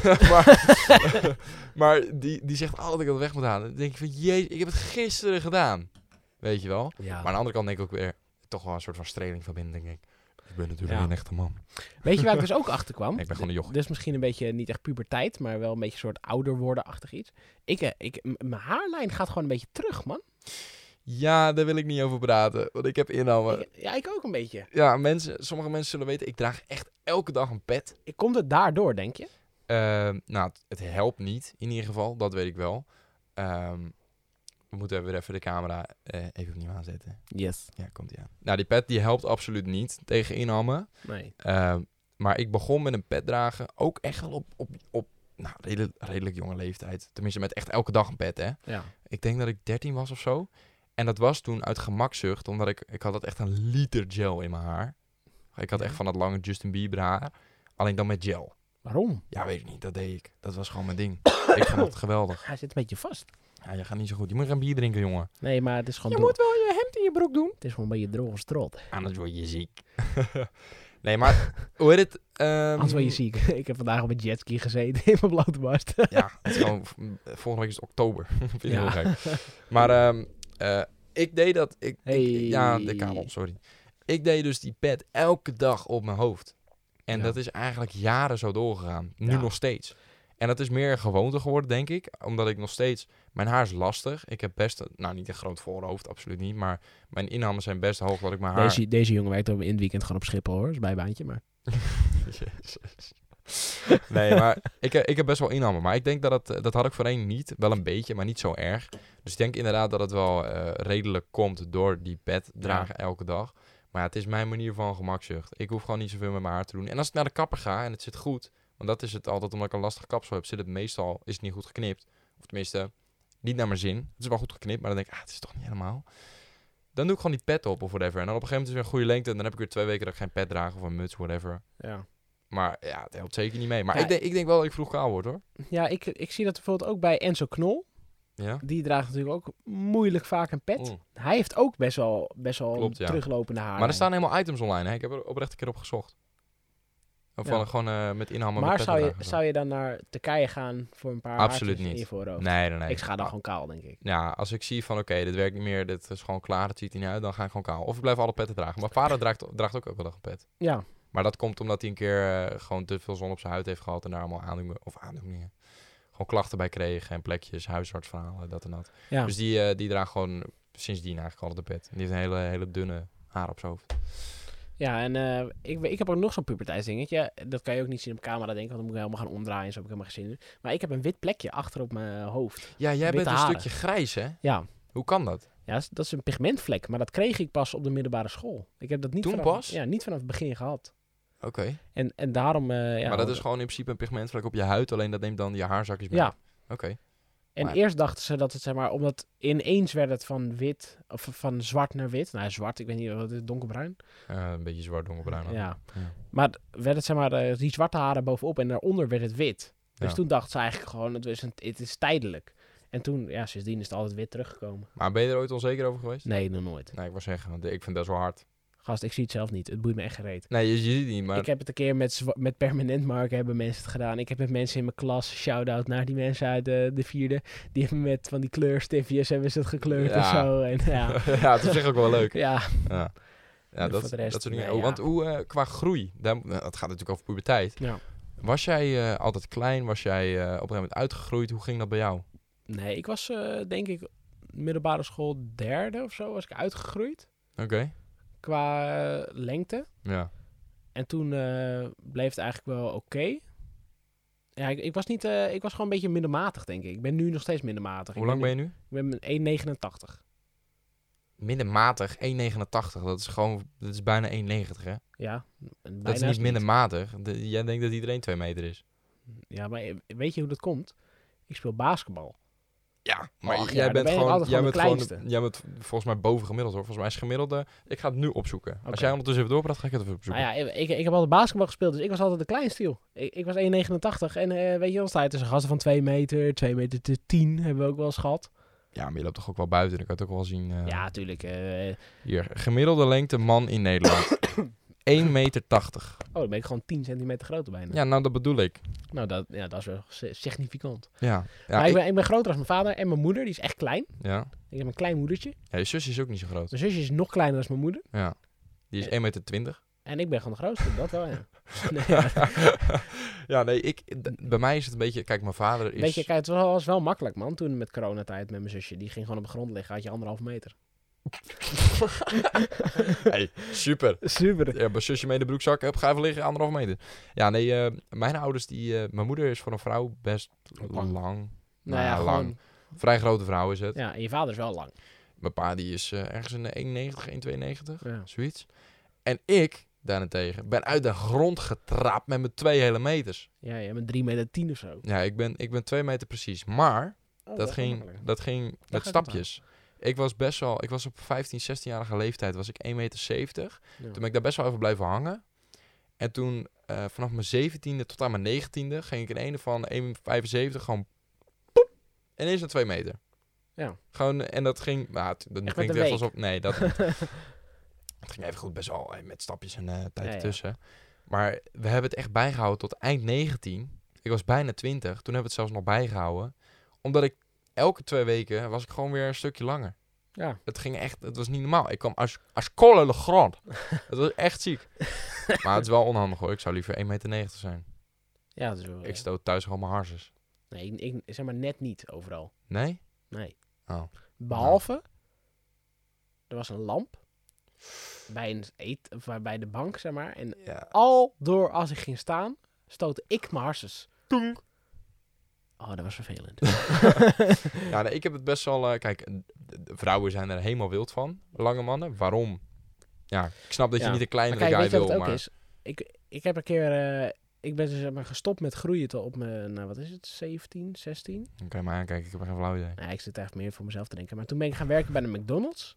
Speaker 1: maar maar die, die zegt altijd dat ik dat weg moet halen. Dan denk ik van, jezus, ik heb het gisteren gedaan. Weet je wel.
Speaker 2: Ja.
Speaker 1: Maar aan de andere kant denk ik ook weer, toch wel een soort van streling van binnen, denk ik. Ik ben natuurlijk
Speaker 2: Ja.
Speaker 1: een echte man.
Speaker 2: Weet je waar ik dus ook achter kwam?
Speaker 1: Nee, ik ben gewoon een jochie.
Speaker 2: Dus misschien een beetje niet echt puberteit, maar wel een beetje een soort ouder worden-achtig iets. Ik, eh, ik, m- mijn haarlijn gaat gewoon een beetje terug, man.
Speaker 1: Ja, daar wil ik niet over praten, want ik heb inhammen.
Speaker 2: Ik- ja, ik ook een beetje.
Speaker 1: Ja, mensen, sommige mensen zullen weten, ik draag echt elke dag een pet.
Speaker 2: Ik- Komt het daardoor, denk je?
Speaker 1: Ehm, nou, het, het helpt niet in ieder geval, dat weet ik wel. Ehm, we moeten weer even de camera eh, even opnieuw aanzetten.
Speaker 2: Yes.
Speaker 1: Ja, komt die aan. Nou, die pet die helpt absoluut niet tegen inhammen.
Speaker 2: Nee.
Speaker 1: Ehm, maar ik begon met een pet dragen, ook echt al op, op, op nou, redelijk, redelijk jonge leeftijd. Tenminste, met echt elke dag een pet, hè.
Speaker 2: Ja.
Speaker 1: Ik denk dat ik 13 was of zo. En dat was toen uit gemakzucht, omdat ik, ik had dat echt een liter gel in mijn haar. Ik had
Speaker 2: Ja.
Speaker 1: echt van dat lange Justin Bieber haar, alleen dan met gel.
Speaker 2: Waarom?
Speaker 1: Ja, weet ik niet. Dat deed ik. Dat was gewoon mijn ding. ik vond het geweldig.
Speaker 2: Hij zit een beetje vast.
Speaker 1: Ja, je gaat niet zo goed. Je moet gaan bier drinken, jongen.
Speaker 2: Nee, maar het is gewoon,
Speaker 1: Je
Speaker 2: dro-
Speaker 1: moet wel je hemd in je broek doen.
Speaker 2: het is gewoon een beetje droog als strot.
Speaker 1: Anders word je ziek. nee, maar hoe heet het? Ehm,
Speaker 2: Anders word je ziek. Ik heb vandaag op een jetski gezeten in mijn blote barst.
Speaker 1: Ja, het is gewoon, volgende week is het oktober. Vind ik
Speaker 2: Ja.
Speaker 1: heel gek. Maar ehm, eh, ik deed dat... Ik, ik-
Speaker 2: Hey.
Speaker 1: ja, de kabel, sorry. Ik deed dus die pet elke dag op mijn hoofd. En
Speaker 2: Ja.
Speaker 1: dat is eigenlijk jaren zo doorgegaan. Nu
Speaker 2: Ja.
Speaker 1: nog steeds. En dat is meer een gewoonte geworden, denk ik. Omdat ik nog steeds... Mijn haar is lastig. Ik heb best... een- Nou, niet een groot voorhoofd, absoluut niet. Maar mijn inhammen zijn best hoog dat ik mijn haar...
Speaker 2: Deze, deze jongen werkt ook in het weekend gewoon op Schiphol hoor. Is bijbaantje, maar...
Speaker 1: Jezus. Nee, maar ik, eh, ik heb best wel inhammen. Maar ik denk dat het, eh, dat had ik voorheen niet. Wel een beetje, maar niet zo erg. Dus ik denk inderdaad dat het wel eh, redelijk komt door die pet dragen elke dag. Maar ja, het is mijn manier van gemakzucht. Ik hoef gewoon niet zoveel met mijn haar te doen. En als ik naar de kapper ga en het zit goed, want dat is het altijd omdat ik een lastig kapsel heb, zit het meestal is het niet goed geknipt. Of tenminste, niet naar mijn zin. Het is wel goed geknipt, maar dan denk ik, ah, het is toch niet helemaal. Dan doe ik gewoon die pet op of whatever. En dan op een gegeven moment is het weer een goede lengte. En dan heb ik weer twee weken dat ik geen pet draag of een muts, whatever.
Speaker 2: Ja,
Speaker 1: Maar ja, het helpt zeker niet mee. Maar
Speaker 2: Ja,
Speaker 1: ik, denk, ik denk wel dat ik vroeg kaal word, hoor.
Speaker 2: ja ik, ik zie dat bijvoorbeeld ook bij Enzo Knol.
Speaker 1: Ja?
Speaker 2: Die draagt natuurlijk ook moeilijk vaak een pet.
Speaker 1: Mm.
Speaker 2: Hij heeft ook best wel, best wel
Speaker 1: Klopt, ja.
Speaker 2: teruglopende haar.
Speaker 1: Maar er staan helemaal items online, hè? Ik heb er oprecht een keer op gezocht. Of
Speaker 2: Ja.
Speaker 1: van, gewoon eh, met inhammen
Speaker 2: Maar
Speaker 1: met
Speaker 2: zou je,
Speaker 1: petten dragen.
Speaker 2: zou je dan naar Turkije gaan voor een paar
Speaker 1: Absoluut
Speaker 2: haartjes
Speaker 1: niet.
Speaker 2: in je voorhoofd?
Speaker 1: Nee, nee, nee.
Speaker 2: Ik ga dan
Speaker 1: Ah,
Speaker 2: gewoon kaal, denk ik.
Speaker 1: Ja, als ik zie van, oké, dit werkt niet meer, dit is gewoon klaar, het ziet er niet uit, dan ga ik gewoon kaal. Of ik blijf alle petten dragen. Mijn vader draagt, draagt ook elke dag een pet.
Speaker 2: Ja,
Speaker 1: Maar dat komt omdat hij een keer eh, gewoon te veel zon op zijn huid heeft gehad en daar allemaal aandoeningen, of aandoeningen, gewoon klachten bij kreeg en plekjes, huisartsverhalen, dat en dat.
Speaker 2: ja.
Speaker 1: Dus die, eh, die draagt gewoon sindsdien eigenlijk altijd een pet. En die heeft een hele, hele dunne haar op zijn hoofd.
Speaker 2: ja en eh, ik, ik heb ook nog zo'n puberteitsdingetje. Dat kan je ook niet zien op camera, denk ik. Want dan moet ik helemaal gaan omdraaien. en Zo heb ik helemaal geen zin in. Maar ik heb een wit plekje achter op mijn hoofd.
Speaker 1: Ja, jij
Speaker 2: Witte
Speaker 1: bent een
Speaker 2: haren.
Speaker 1: stukje grijs, hè?
Speaker 2: Ja,
Speaker 1: Hoe kan dat?
Speaker 2: Ja, dat is- dat is een pigmentvlek, maar dat kreeg ik pas op de middelbare school. Ik heb dat niet
Speaker 1: Toen
Speaker 2: vanaf,
Speaker 1: pas?
Speaker 2: Ja, niet vanaf het begin gehad.
Speaker 1: Oké.
Speaker 2: En, en daarom... eh, ja,
Speaker 1: maar dat is gewoon in principe een pigmentvlek op je huid, alleen dat neemt dan je haarzakjes mee.
Speaker 2: Ja,
Speaker 1: Oké.
Speaker 2: en
Speaker 1: Maar-
Speaker 2: eerst dachten ze dat het, zeg maar, omdat ineens werd het van wit, of van zwart naar wit. Nou, zwart, ik weet niet, wat is het, donkerbruin?
Speaker 1: Eh, een beetje zwart donkerbruin.
Speaker 2: Ja.
Speaker 1: dan. Ja.
Speaker 2: Maar d- werd het, zeg maar, eh, die zwarte haren bovenop en daaronder werd het wit. Dus
Speaker 1: Ja.
Speaker 2: toen dachten ze eigenlijk gewoon, het is, een, het is tijdelijk. En toen, ja, sindsdien is het altijd wit teruggekomen.
Speaker 1: Maar ben je er ooit onzeker over geweest?
Speaker 2: Nee, nog nooit.
Speaker 1: Nee, ik wou zeggen, want ik vind dat zo hard.
Speaker 2: Gast, ik zie het zelf niet. Het boeit me echt gereed.
Speaker 1: Nee, je, je ziet het niet, maar...
Speaker 2: Ik heb het een keer met, zwa- met permanent marken hebben mensen het gedaan. Ik heb met mensen in mijn klas, shout-out naar die mensen uit eh, de, de vierde. Die hebben met van die kleurstiftjes hebben ze het gekleurd
Speaker 1: Ja.
Speaker 2: of zo. En, ja,
Speaker 1: ja, het is op zich ook wel leuk.
Speaker 2: ja.
Speaker 1: Ja, ja
Speaker 2: En
Speaker 1: dat,
Speaker 2: voor de rest,
Speaker 1: dat soort dingen.
Speaker 2: nee,
Speaker 1: Oh, Want
Speaker 2: ja.
Speaker 1: hoe, eh, qua groei, daar, nou, het gaat natuurlijk over puberteit.
Speaker 2: Ja.
Speaker 1: Was jij eh, altijd klein? Was jij eh, op een gegeven moment uitgegroeid? Hoe ging dat bij jou?
Speaker 2: Nee, ik was eh, denk ik middelbare school derde of zo was ik uitgegroeid
Speaker 1: Oké.
Speaker 2: qua eh, lengte.
Speaker 1: Ja.
Speaker 2: En toen eh, bleef het eigenlijk wel oké. Ja, ik, ik was niet, eh, ik was gewoon een beetje middelmatig denk ik. Ik ben nu nog steeds middelmatig.
Speaker 1: Hoe lang ben je nu?
Speaker 2: nu? Ik ben 1,89.
Speaker 1: Middenmatig, 1,89. Dat is gewoon, dat is bijna 1,90 hè?
Speaker 2: Ja,
Speaker 1: Dat is niet middenmatig. De- Jij denkt dat iedereen 2 meter is.
Speaker 2: Ja, maar e-, weet je hoe dat komt? Ik speel basketbal.
Speaker 1: Ja, maar
Speaker 2: Och,
Speaker 1: jij
Speaker 2: ja, dan
Speaker 1: bent
Speaker 2: ben ik
Speaker 1: gewoon,
Speaker 2: altijd
Speaker 1: jij
Speaker 2: gewoon
Speaker 1: bent
Speaker 2: de
Speaker 1: gewoon,
Speaker 2: kleinste.
Speaker 1: jij bent volgens mij boven gemiddeld hoor. Volgens mij is gemiddelde, ik ga het nu opzoeken. Als
Speaker 2: Oké.
Speaker 1: jij ondertussen even doorpraat, ga ik het even opzoeken.
Speaker 2: Nou ja, ik, ik heb altijd basketbal gespeeld, dus ik was altijd de kleinste, joh. Ik, ik was 1,89 en eh, weet je, ons tijd tussen gasten van 2 meter, 2 meter te 10 hebben we ook wel eens gehad.
Speaker 1: ja. maar je loopt toch ook wel buiten, dan kan je het ook wel zien. eh,
Speaker 2: Ja, tuurlijk. eh,
Speaker 1: Hier, gemiddelde lengte man in Nederland. 1,80 meter.
Speaker 2: oh, dan ben ik gewoon 10 centimeter groter bijna.
Speaker 1: Ja, nou dat bedoel ik.
Speaker 2: Nou, dat, ja, dat is wel si- significant.
Speaker 1: Ja, ja,
Speaker 2: maar ik,
Speaker 1: ik-
Speaker 2: ben, ik ben groter als mijn vader en mijn moeder, die is echt klein.
Speaker 1: ja.
Speaker 2: Ik heb een klein moedertje.
Speaker 1: ja je zus is ook niet zo groot.
Speaker 2: Mijn zusje is nog kleiner dan mijn moeder.
Speaker 1: Ja. Die is 1,20 meter.
Speaker 2: En ik ben gewoon de grootste, dat wel, ja. Nee, ja.
Speaker 1: ja, nee, ik, d- bij mij is het een beetje... Kijk, mijn vader is...
Speaker 2: Weet je, kijk, het was, was wel makkelijk, man. Toen met coronatijd met mijn zusje, die ging gewoon op de grond liggen, had je anderhalf meter.
Speaker 1: hey, super.
Speaker 2: Super. Nou
Speaker 1: Ja, mijn zusje mee in de broekzak. Hup, ga even liggen, anderhalf meter. Ja, nee, eh, mijn ouders, die... eh, mijn moeder is voor een vrouw best lang.
Speaker 2: Lang.
Speaker 1: Nou
Speaker 2: Nou ja,
Speaker 1: ja,
Speaker 2: gewoon-
Speaker 1: lang. Vrij grote vrouw is het.
Speaker 2: Ja, en je vader is wel lang.
Speaker 1: Mijn pa, die is eh, ergens in de 1,90, 1,92.
Speaker 2: Ja.
Speaker 1: Zoiets. En ik, daarentegen, ben uit de grond getrapt met mijn twee hele meters.
Speaker 2: Ja, je bent 3 meter 10 of zo. Oh,
Speaker 1: Ja, ik ben, ik ben twee meter precies. Maar dat, ging, dat ging met
Speaker 2: gaat het
Speaker 1: stapjes. Ik was best wel, ik was op 15, 16-jarige leeftijd, was ik 1,70 meter.
Speaker 2: Ja.
Speaker 1: Toen ben ik daar best wel over blijven hangen. En toen, eh, vanaf mijn 17e tot aan mijn 19e, ging ik in een van 1,75 gewoon poep, ineens naar 2 meter.
Speaker 2: Ja.
Speaker 1: Gewoon, en dat ging, nou, t- dat
Speaker 2: met
Speaker 1: klinkt
Speaker 2: een
Speaker 1: echt
Speaker 2: week.
Speaker 1: alsof, nee, dat niet. Het ging even goed, best wel eh, met stapjes en eh tijd
Speaker 2: Ja, ja.
Speaker 1: ertussen. Maar we hebben het echt bijgehouden tot eind 19. Ik was bijna 20, toen hebben we het zelfs nog bijgehouden. Omdat ik elke twee weken was ik gewoon weer een stukje langer.
Speaker 2: Ja.
Speaker 1: Het ging echt, het was niet normaal. Ik kwam als, als kolle de grond. Het was echt ziek. maar het is wel onhandig hoor. Ik zou liever 1,90 meter zijn.
Speaker 2: Ja, dat is wel...
Speaker 1: Ik
Speaker 2: Oh, ja.
Speaker 1: stoot thuis gewoon mijn harses.
Speaker 2: Nee, ik, ik zeg maar net niet overal.
Speaker 1: Nee?
Speaker 2: Nee.
Speaker 1: Oh.
Speaker 2: Behalve, er was een lamp bij, een eet, of bij- bij de bank, zeg maar. En
Speaker 1: Ja.
Speaker 2: al door als ik ging staan, stootte ik mijn harses. Oh, dat was vervelend.
Speaker 1: ja nee, ik heb het best wel... eh, kijk, de- de vrouwen zijn er helemaal wild van. Lange mannen. Waarom? Ja, ik snap dat je
Speaker 2: Ja.
Speaker 1: niet een
Speaker 2: Maar
Speaker 1: kleinere
Speaker 2: kijk,
Speaker 1: guy
Speaker 2: weet je wat
Speaker 1: wil,
Speaker 2: het ook
Speaker 1: maar...
Speaker 2: is? Ik, ik heb een keer... eh, ik ben dus, zeg maar, gestopt met groeien tot op mijn... Nou, wat is het? 17, 16?
Speaker 1: Dan kan je maar aankijken, ik heb er geen flauw idee.
Speaker 2: Nou, ik zit echt meer voor mezelf te denken. Maar toen ben ik gaan werken bij de McDonald's.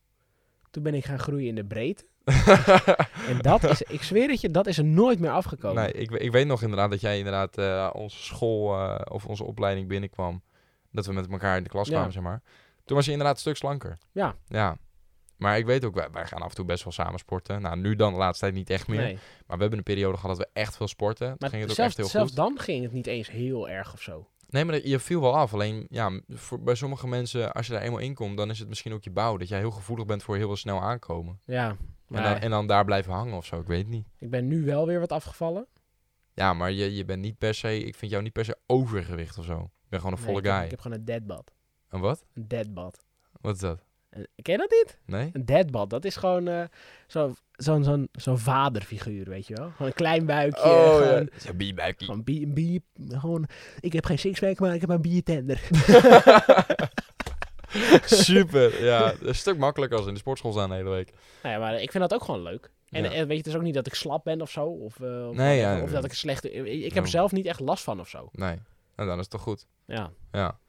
Speaker 2: Toen ben ik gaan groeien in de breedte. En dat is... Ik zweer het je, dat is er nooit meer afgekomen.
Speaker 1: Nee, ik, we- ik weet nog inderdaad dat jij inderdaad eh, onze school eh, of onze opleiding binnenkwam. Dat we met elkaar in de klas
Speaker 2: Ja.
Speaker 1: kwamen, zeg maar. Toen was je inderdaad een stuk slanker.
Speaker 2: Ja.
Speaker 1: Ja. Maar ik weet ook, wij, wij gaan af en toe best wel samen sporten. Nou, nu dan de laatste tijd niet echt meer.
Speaker 2: Nee.
Speaker 1: Maar we hebben een periode gehad dat we echt veel sporten. Toen
Speaker 2: Maar
Speaker 1: ging het ook
Speaker 2: zelfs,
Speaker 1: echt heel
Speaker 2: zelfs
Speaker 1: goed.
Speaker 2: dan ging het niet eens heel erg of zo.
Speaker 1: Nee, maar je viel wel af. Alleen, ja, voor, bij sommige mensen, als je daar eenmaal in komt, dan is het misschien ook je bouw. Dat jij heel gevoelig bent voor heel wel snel aankomen.
Speaker 2: Ja, maar
Speaker 1: En, dan, en dan daar blijven hangen of zo, ik weet het niet.
Speaker 2: ik ben nu wel weer wat afgevallen.
Speaker 1: Ja, maar je, je bent niet per se, ik vind jou niet per se overgewicht of zo. Je bent gewoon een
Speaker 2: Nee,
Speaker 1: volle
Speaker 2: ik heb-
Speaker 1: guy.
Speaker 2: Ik heb gewoon een deadbad.
Speaker 1: Een wat?
Speaker 2: Een deadbad.
Speaker 1: Wat is dat?
Speaker 2: En- Ken je dat niet?
Speaker 1: Nee?
Speaker 2: Een deadbad, dat is gewoon eh, zo- zo'n zo'n zo'n vaderfiguur, weet je wel. Gewoon een klein buikje.
Speaker 1: Oh,
Speaker 2: gewoon,
Speaker 1: Zo'n bierbuikie.
Speaker 2: gewoon, bier, bier, gewoon, ik heb geen sixpack, maar ik heb een biertender.
Speaker 1: Super, ja. Een stuk makkelijker als in de sportschool staan de hele week.
Speaker 2: Nou ja, maar ik vind dat ook gewoon leuk. En,
Speaker 1: Ja.
Speaker 2: en weet je, het is ook niet dat ik slap ben of zo. Of, eh, of,
Speaker 1: Nee, ja,
Speaker 2: of
Speaker 1: ja.
Speaker 2: dat ik een slechte... Ik, ik heb er
Speaker 1: Ja.
Speaker 2: zelf niet echt last van of zo.
Speaker 1: Nee, en dan is het toch goed.
Speaker 2: Ja,
Speaker 1: Ja.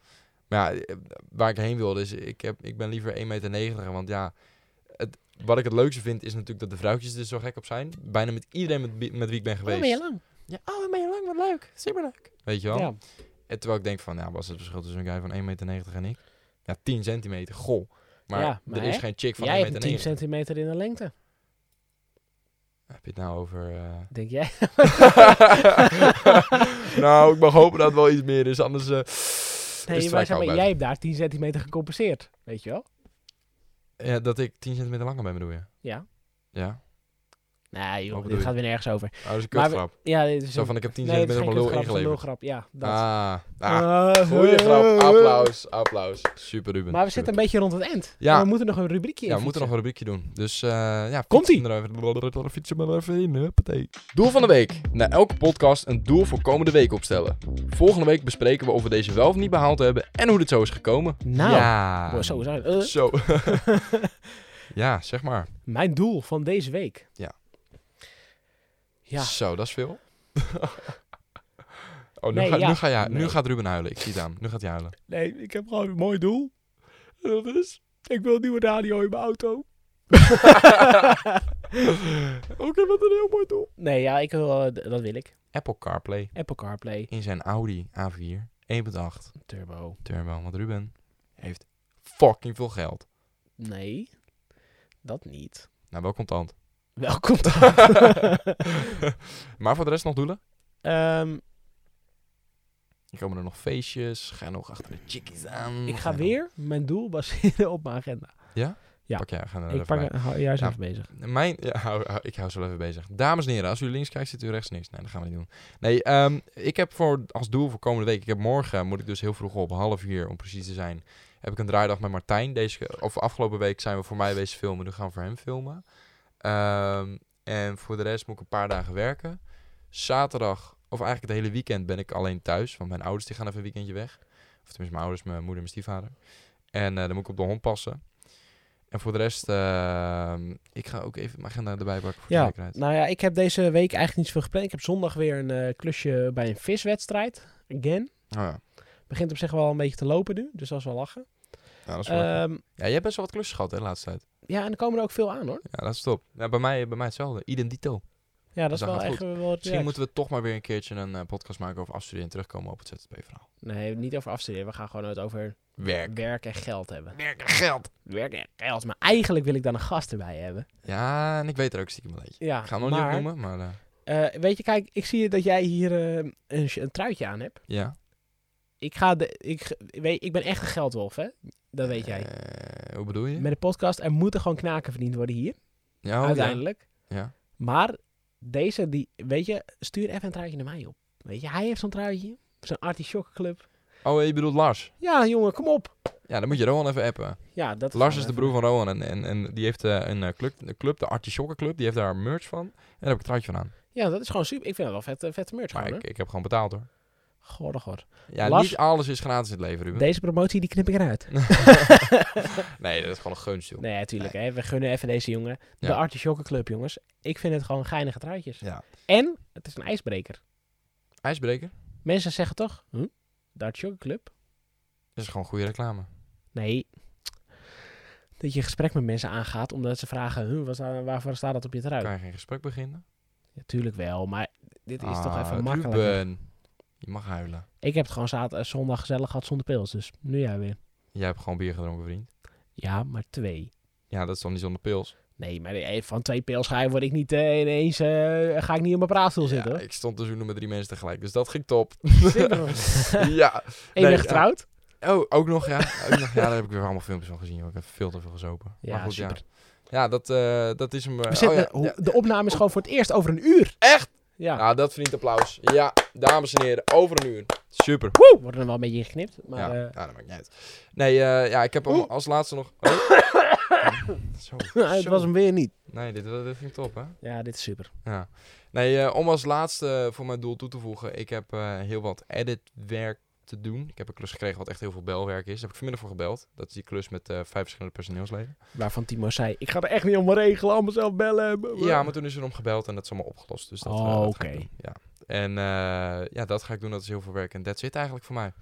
Speaker 1: Maar ja, eh, waar ik heen wilde is, ik, heb, ik ben liever 1,90 meter, want ja... Het, wat ik het leukste vind is natuurlijk dat de vrouwtjes er zo gek op zijn. Bijna met iedereen met, wie- met wie ik ben
Speaker 2: oh,
Speaker 1: geweest.
Speaker 2: ben je lang?
Speaker 1: Ja, oh, dan ben je lang, wat leuk. Superleuk. Weet je wel?
Speaker 2: Ja.
Speaker 1: En terwijl ik denk van, nou, wat is het verschil tussen een guy van 1,90 meter en ik? Ja, 10 centimeter, goh. Maar,
Speaker 2: Ja, maar
Speaker 1: er is
Speaker 2: hè?
Speaker 1: geen chick van 1,90
Speaker 2: Jij hebt een
Speaker 1: meter.
Speaker 2: 10 centimeter in de lengte.
Speaker 1: Heb je het nou over... eh,
Speaker 2: Denk jij?
Speaker 1: nou, ik mag hopen dat het wel iets meer is, anders eh is
Speaker 2: Nee,
Speaker 1: het
Speaker 2: maar,
Speaker 1: vrij
Speaker 2: zeg
Speaker 1: koud
Speaker 2: maar
Speaker 1: buiten.
Speaker 2: jij hebt daar 10 centimeter gecompenseerd. Weet je wel?
Speaker 1: Ja, dat ik 10 centimeter langer ben, bedoel je?
Speaker 2: Ja.
Speaker 1: Ja?
Speaker 2: Nee
Speaker 1: Wat
Speaker 2: joh,
Speaker 1: bedoel
Speaker 2: dit
Speaker 1: je?
Speaker 2: gaat weer nergens over.
Speaker 1: Oh, dat is een
Speaker 2: Maar we-
Speaker 1: kutgrap.
Speaker 2: Ja, dit is
Speaker 1: Zo
Speaker 2: een-
Speaker 1: van, ik heb 10
Speaker 2: nee, het is
Speaker 1: centimeter op
Speaker 2: geen
Speaker 1: mijn lul
Speaker 2: kutgrap, het is een
Speaker 1: ingeleverd.
Speaker 2: lulgrap. Ja, dat.
Speaker 1: Ah, ah
Speaker 2: Eh,
Speaker 1: goeie
Speaker 2: eh,
Speaker 1: grap.
Speaker 2: eh,
Speaker 1: Applaus, applaus. Super, Ruben.
Speaker 2: Maar we
Speaker 1: Super.
Speaker 2: zitten een beetje rond het eind.
Speaker 1: Ja.
Speaker 2: En we moeten nog een rubriekje
Speaker 1: Ja,
Speaker 2: in
Speaker 1: we moeten nog een rubriekje doen. Dus eh, ja,
Speaker 2: Komt-ie.
Speaker 1: fietsen er even- Fietsen maar even in, huppatee. Doel van de week. Na elke podcast een doel voor komende week opstellen. Volgende week bespreken we of we deze wel of niet behaald hebben en hoe dit zo is gekomen.
Speaker 2: Nou,
Speaker 1: ja.
Speaker 2: Oh, zo, zo. Eh,
Speaker 1: Zo. ja, zeg maar.
Speaker 2: mijn doel van deze week.
Speaker 1: Ja.
Speaker 2: Ja,
Speaker 1: Zo, dat is veel. oh, nu,
Speaker 2: Nee,
Speaker 1: ga,
Speaker 2: ja.
Speaker 1: nu, ga jij, nu
Speaker 2: Nee.
Speaker 1: gaat Ruben huilen. Ik zie het aan. Nu gaat hij huilen.
Speaker 2: nee, ik heb gewoon een mooi doel. Dat is, ik wil een nieuwe radio in mijn auto.
Speaker 1: Oké, wat een heel mooi doel.
Speaker 2: Nee, ja, ik wil, eh, d- dat wil ik.
Speaker 1: Apple CarPlay
Speaker 2: Apple CarPlay,
Speaker 1: in zijn Audi A4 1.8.
Speaker 2: Turbo.
Speaker 1: Turbo, want Ruben heeft fucking veel geld.
Speaker 2: Nee, dat niet.
Speaker 1: Nou, wel contant.
Speaker 2: Welkom.
Speaker 1: maar voor de rest nog doelen?
Speaker 2: Ehm
Speaker 1: Er komen er nog feestjes. Ga nog achter de chickies aan.
Speaker 2: ik ga
Speaker 1: nog- Nou,
Speaker 2: weer mijn doel baseren op mijn agenda.
Speaker 1: Ja?
Speaker 2: Ja.
Speaker 1: Pak jij agenda er
Speaker 2: Ik
Speaker 1: even
Speaker 2: pak
Speaker 1: bij.
Speaker 2: er- hou- jij is
Speaker 1: Ja.
Speaker 2: even bezig.
Speaker 1: Mijn, ja, hou- hou- ik hou zo wel even bezig. Dames en heren, als u links kijkt, zit u rechts niks. Nee, dat gaan we niet doen. Nee, ehm, ik heb voor, als doel voor komende week, ik heb morgen, moet ik dus heel vroeg op, half uur om precies te zijn, heb ik een draaidag met Martijn. Deze, ke- of afgelopen week zijn we voor mij bezig filmen, nu gaan we voor hem filmen. Ehm, en voor de rest moet ik een paar dagen werken. Zaterdag, of eigenlijk het hele weekend, ben ik alleen thuis, want mijn ouders die gaan even een weekendje weg. Of tenminste mijn ouders, mijn moeder en mijn stiefvader. En eh, dan moet ik op de hond passen. En voor de rest, ehm, ik ga ook even mijn agenda erbij pakken voor de
Speaker 2: Ja,
Speaker 1: zekerheid.
Speaker 2: nou ja, ik heb deze week eigenlijk niet zoveel gepland. Ik heb zondag weer een eh, klusje bij een viswedstrijd. Again.
Speaker 1: Oh ja,
Speaker 2: Begint op zich wel een beetje te lopen nu, dus dat is wel lachen.
Speaker 1: nou, dat is wel lekker.
Speaker 2: Ehm,
Speaker 1: Ja, jij hebt best wel wat klusjes gehad hè, de laatste tijd.
Speaker 2: ja, en er komen er ook veel aan hoor.
Speaker 1: Ja, dat is top. Ja, bij, mij, bij mij hetzelfde. Identito.
Speaker 2: Ja, dat is
Speaker 1: dat
Speaker 2: wel
Speaker 1: gaat
Speaker 2: echt
Speaker 1: goed.
Speaker 2: wel relaxed.
Speaker 1: Misschien moeten we toch maar weer een keertje een eh, podcast maken over afstuderen en terugkomen op het ZZP-verhaal.
Speaker 2: Nee, niet over afstuderen. We gaan gewoon het over
Speaker 1: Werk.
Speaker 2: werk en geld hebben.
Speaker 1: Werk en geld.
Speaker 2: Werk en geld. Maar eigenlijk wil ik dan een gast erbij hebben.
Speaker 1: Ja, en ik weet er ook stiekem een beetje.
Speaker 2: Ja,
Speaker 1: Ik ga hem nog
Speaker 2: maar,
Speaker 1: niet opnoemen, maar eh,
Speaker 2: eh, weet je, kijk, ik zie dat jij hier eh, een, sh- een truitje aan hebt.
Speaker 1: ja.
Speaker 2: Ik, ga de, ik, ge- weet, ik ben echt een geldwolf, hè? Dat weet jij.
Speaker 1: Eh, hoe bedoel je?
Speaker 2: Met de podcast, er moeten gewoon knaken verdiend worden hier.
Speaker 1: Ja, oh,
Speaker 2: uiteindelijk.
Speaker 1: Ja. Ja.
Speaker 2: Maar deze, die, weet je, stuur even een truitje naar mij op. Weet je, hij heeft zo'n truitje. Zo'n artichokkenclub.
Speaker 1: Oh, je bedoelt Lars.
Speaker 2: Ja, jongen, kom op.
Speaker 1: Ja, dan moet je Rowan even appen.
Speaker 2: Ja,
Speaker 1: Lars
Speaker 2: dat wel
Speaker 1: is de
Speaker 2: even-
Speaker 1: broer van Rowan en, en, en die heeft eh, een eh, club, een club, de Artichokken Club, die heeft daar merch van. En daar heb ik een truitje van aan.
Speaker 2: Ja, dat is gewoon super. Ik vind dat wel vet, eh, vette merch
Speaker 1: Maar
Speaker 2: gewoon,
Speaker 1: ik, ik heb gewoon betaald hoor.
Speaker 2: hè? Goh, goh.
Speaker 1: Ja,
Speaker 2: Lars-
Speaker 1: niet alles is gratis in het leven, Ruben.
Speaker 2: Deze promotie, die knip ik eruit.
Speaker 1: Nee, dat is gewoon een gunst, joh.
Speaker 2: Nee, natuurlijk. Hè. We gunnen even deze jongen. De
Speaker 1: Ja.
Speaker 2: Artichokkenclub, jongens. Ik vind het gewoon geinige truitjes.
Speaker 1: Ja.
Speaker 2: En, het is een ijsbreker.
Speaker 1: IJsbreker
Speaker 2: Mensen zeggen toch, hm? de Artichokkenclub?
Speaker 1: is gewoon goede reclame.
Speaker 2: Nee. Dat je een gesprek met mensen aangaat, omdat ze vragen, hm, wat staat- waarvoor staat dat op je truit?
Speaker 1: Kan je geen gesprek beginnen?
Speaker 2: Natuurlijk wel, maar dit is toch
Speaker 1: Ah,
Speaker 2: even makkelijk.
Speaker 1: Ruben. Je mag huilen.
Speaker 2: Ik heb het gewoon zaterdag, zondag gezellig gehad zonder pils, dus nu jij weer.
Speaker 1: Jij hebt gewoon bier gedronken, vriend.
Speaker 2: Ja, maar twee.
Speaker 1: Ja, dat is dan niet zonder pils.
Speaker 2: Nee, maar eh, van twee pils ga, word ik niet eh, ineens, eh, ga ik niet op mijn praatstoel zitten
Speaker 1: Ja,
Speaker 2: hoor.
Speaker 1: ik stond te zoenen met drie mensen tegelijk, dus dat ging top.
Speaker 2: Zeker hoor.
Speaker 1: ja.
Speaker 2: En
Speaker 1: Nee,
Speaker 2: je
Speaker 1: ja.
Speaker 2: bent getrouwd?
Speaker 1: Oh, ook nog, ja. Ook nog, ja, daar heb ik weer allemaal filmpjes van gezien. joh. Ik heb veel te veel gezopen.
Speaker 2: Ja,
Speaker 1: maar goed, ja.
Speaker 2: super.
Speaker 1: Ja, dat, eh, dat is hem. eh,
Speaker 2: We zitten,
Speaker 1: oh, ja,
Speaker 2: hoe-
Speaker 1: ja.
Speaker 2: De opname is gewoon voor het eerst over een uur.
Speaker 1: Echt?
Speaker 2: Ja,
Speaker 1: Nou, dat verdient applaus. Ja, dames en heren, over een uur. Super.
Speaker 2: Woe! worden er wel een beetje ingeknipt, maar
Speaker 1: ja,
Speaker 2: eh,
Speaker 1: ja, dat maakt niet uit. Nee, eh, ja, ik heb hem
Speaker 2: Oeh.
Speaker 1: als laatste nog... Oh. Zo,
Speaker 2: eh, het
Speaker 1: zo.
Speaker 2: was hem weer niet.
Speaker 1: Nee, dit, dit ging top, hè?
Speaker 2: Ja, dit is super.
Speaker 1: Ja. Nee, eh, om als laatste voor mijn doel toe te voegen. Ik heb eh, heel wat editwerk te doen. Ik heb een klus gekregen wat echt heel veel belwerk is. Daar heb ik vanmiddag voor gebeld. Dat is die klus met eh, vijf verschillende personeelsleden.
Speaker 2: Waarvan Timo zei, ik ga er echt niet om regelen, allemaal zelf bellen.
Speaker 1: Ja, maar toen is er om gebeld en dat is allemaal opgelost. Dus dat, eh,
Speaker 2: Oh,
Speaker 1: dat ga ik
Speaker 2: oké.
Speaker 1: doen. Ja. En eh, ja, dat ga ik doen. Dat is heel veel werk. En that's it eigenlijk voor mij.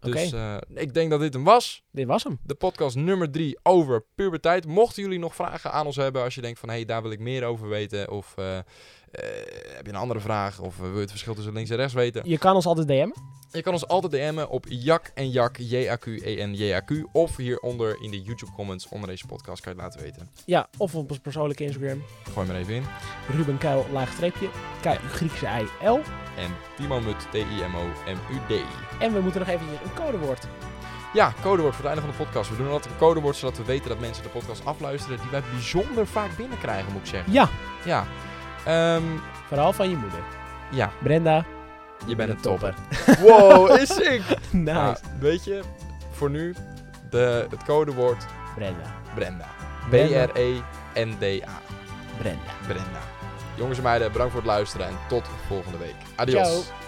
Speaker 2: Oké,
Speaker 1: Dus eh, ik denk dat dit hem was.
Speaker 2: dit was hem.
Speaker 1: de podcast nummer 3 over puberteit. Mochten jullie nog vragen aan ons hebben, als je denkt van hé, hey, daar wil ik meer over weten. Of eh, eh, heb je een andere vraag? Of eh, wil je het verschil tussen links en rechts weten?
Speaker 2: Je kan ons altijd DM'en.
Speaker 1: Je kan ons altijd DM'en op Jak en Jak, J-A-Q, E-N, J-A-Q. Of hieronder in de YouTube comments onder deze podcast kan je het laten weten.
Speaker 2: Ja, of op ons persoonlijke Instagram.
Speaker 1: Gooi maar even in.
Speaker 2: Ruben Kuil, laagstreepje. Kuil, Griekse ei, L.
Speaker 1: En Timo Mut, T-I-M-O-M-U-D.
Speaker 2: En we moeten nog eventjes een codewoord.
Speaker 1: Ja, codewoord voor het einde van de podcast. We doen altijd een codewoord zodat we weten dat mensen de podcast afluisteren. Die wij bijzonder vaak binnenkrijgen, moet ik zeggen.
Speaker 2: Ja,
Speaker 1: Ja. Ehm,
Speaker 2: vooral van je moeder.
Speaker 1: ja,
Speaker 2: Brenda,
Speaker 1: je bent een topper.
Speaker 2: topper.
Speaker 1: Wow, is ik.
Speaker 2: nice.
Speaker 1: weet je, voor nu de, het codewoord
Speaker 2: Brenda.
Speaker 1: Brenda. E
Speaker 2: Brenda.
Speaker 1: B-R-E-N-D-A.
Speaker 2: Brenda.
Speaker 1: Brenda. Jongens en meiden, bedankt voor het luisteren en tot volgende week. Adios.
Speaker 2: Ciao.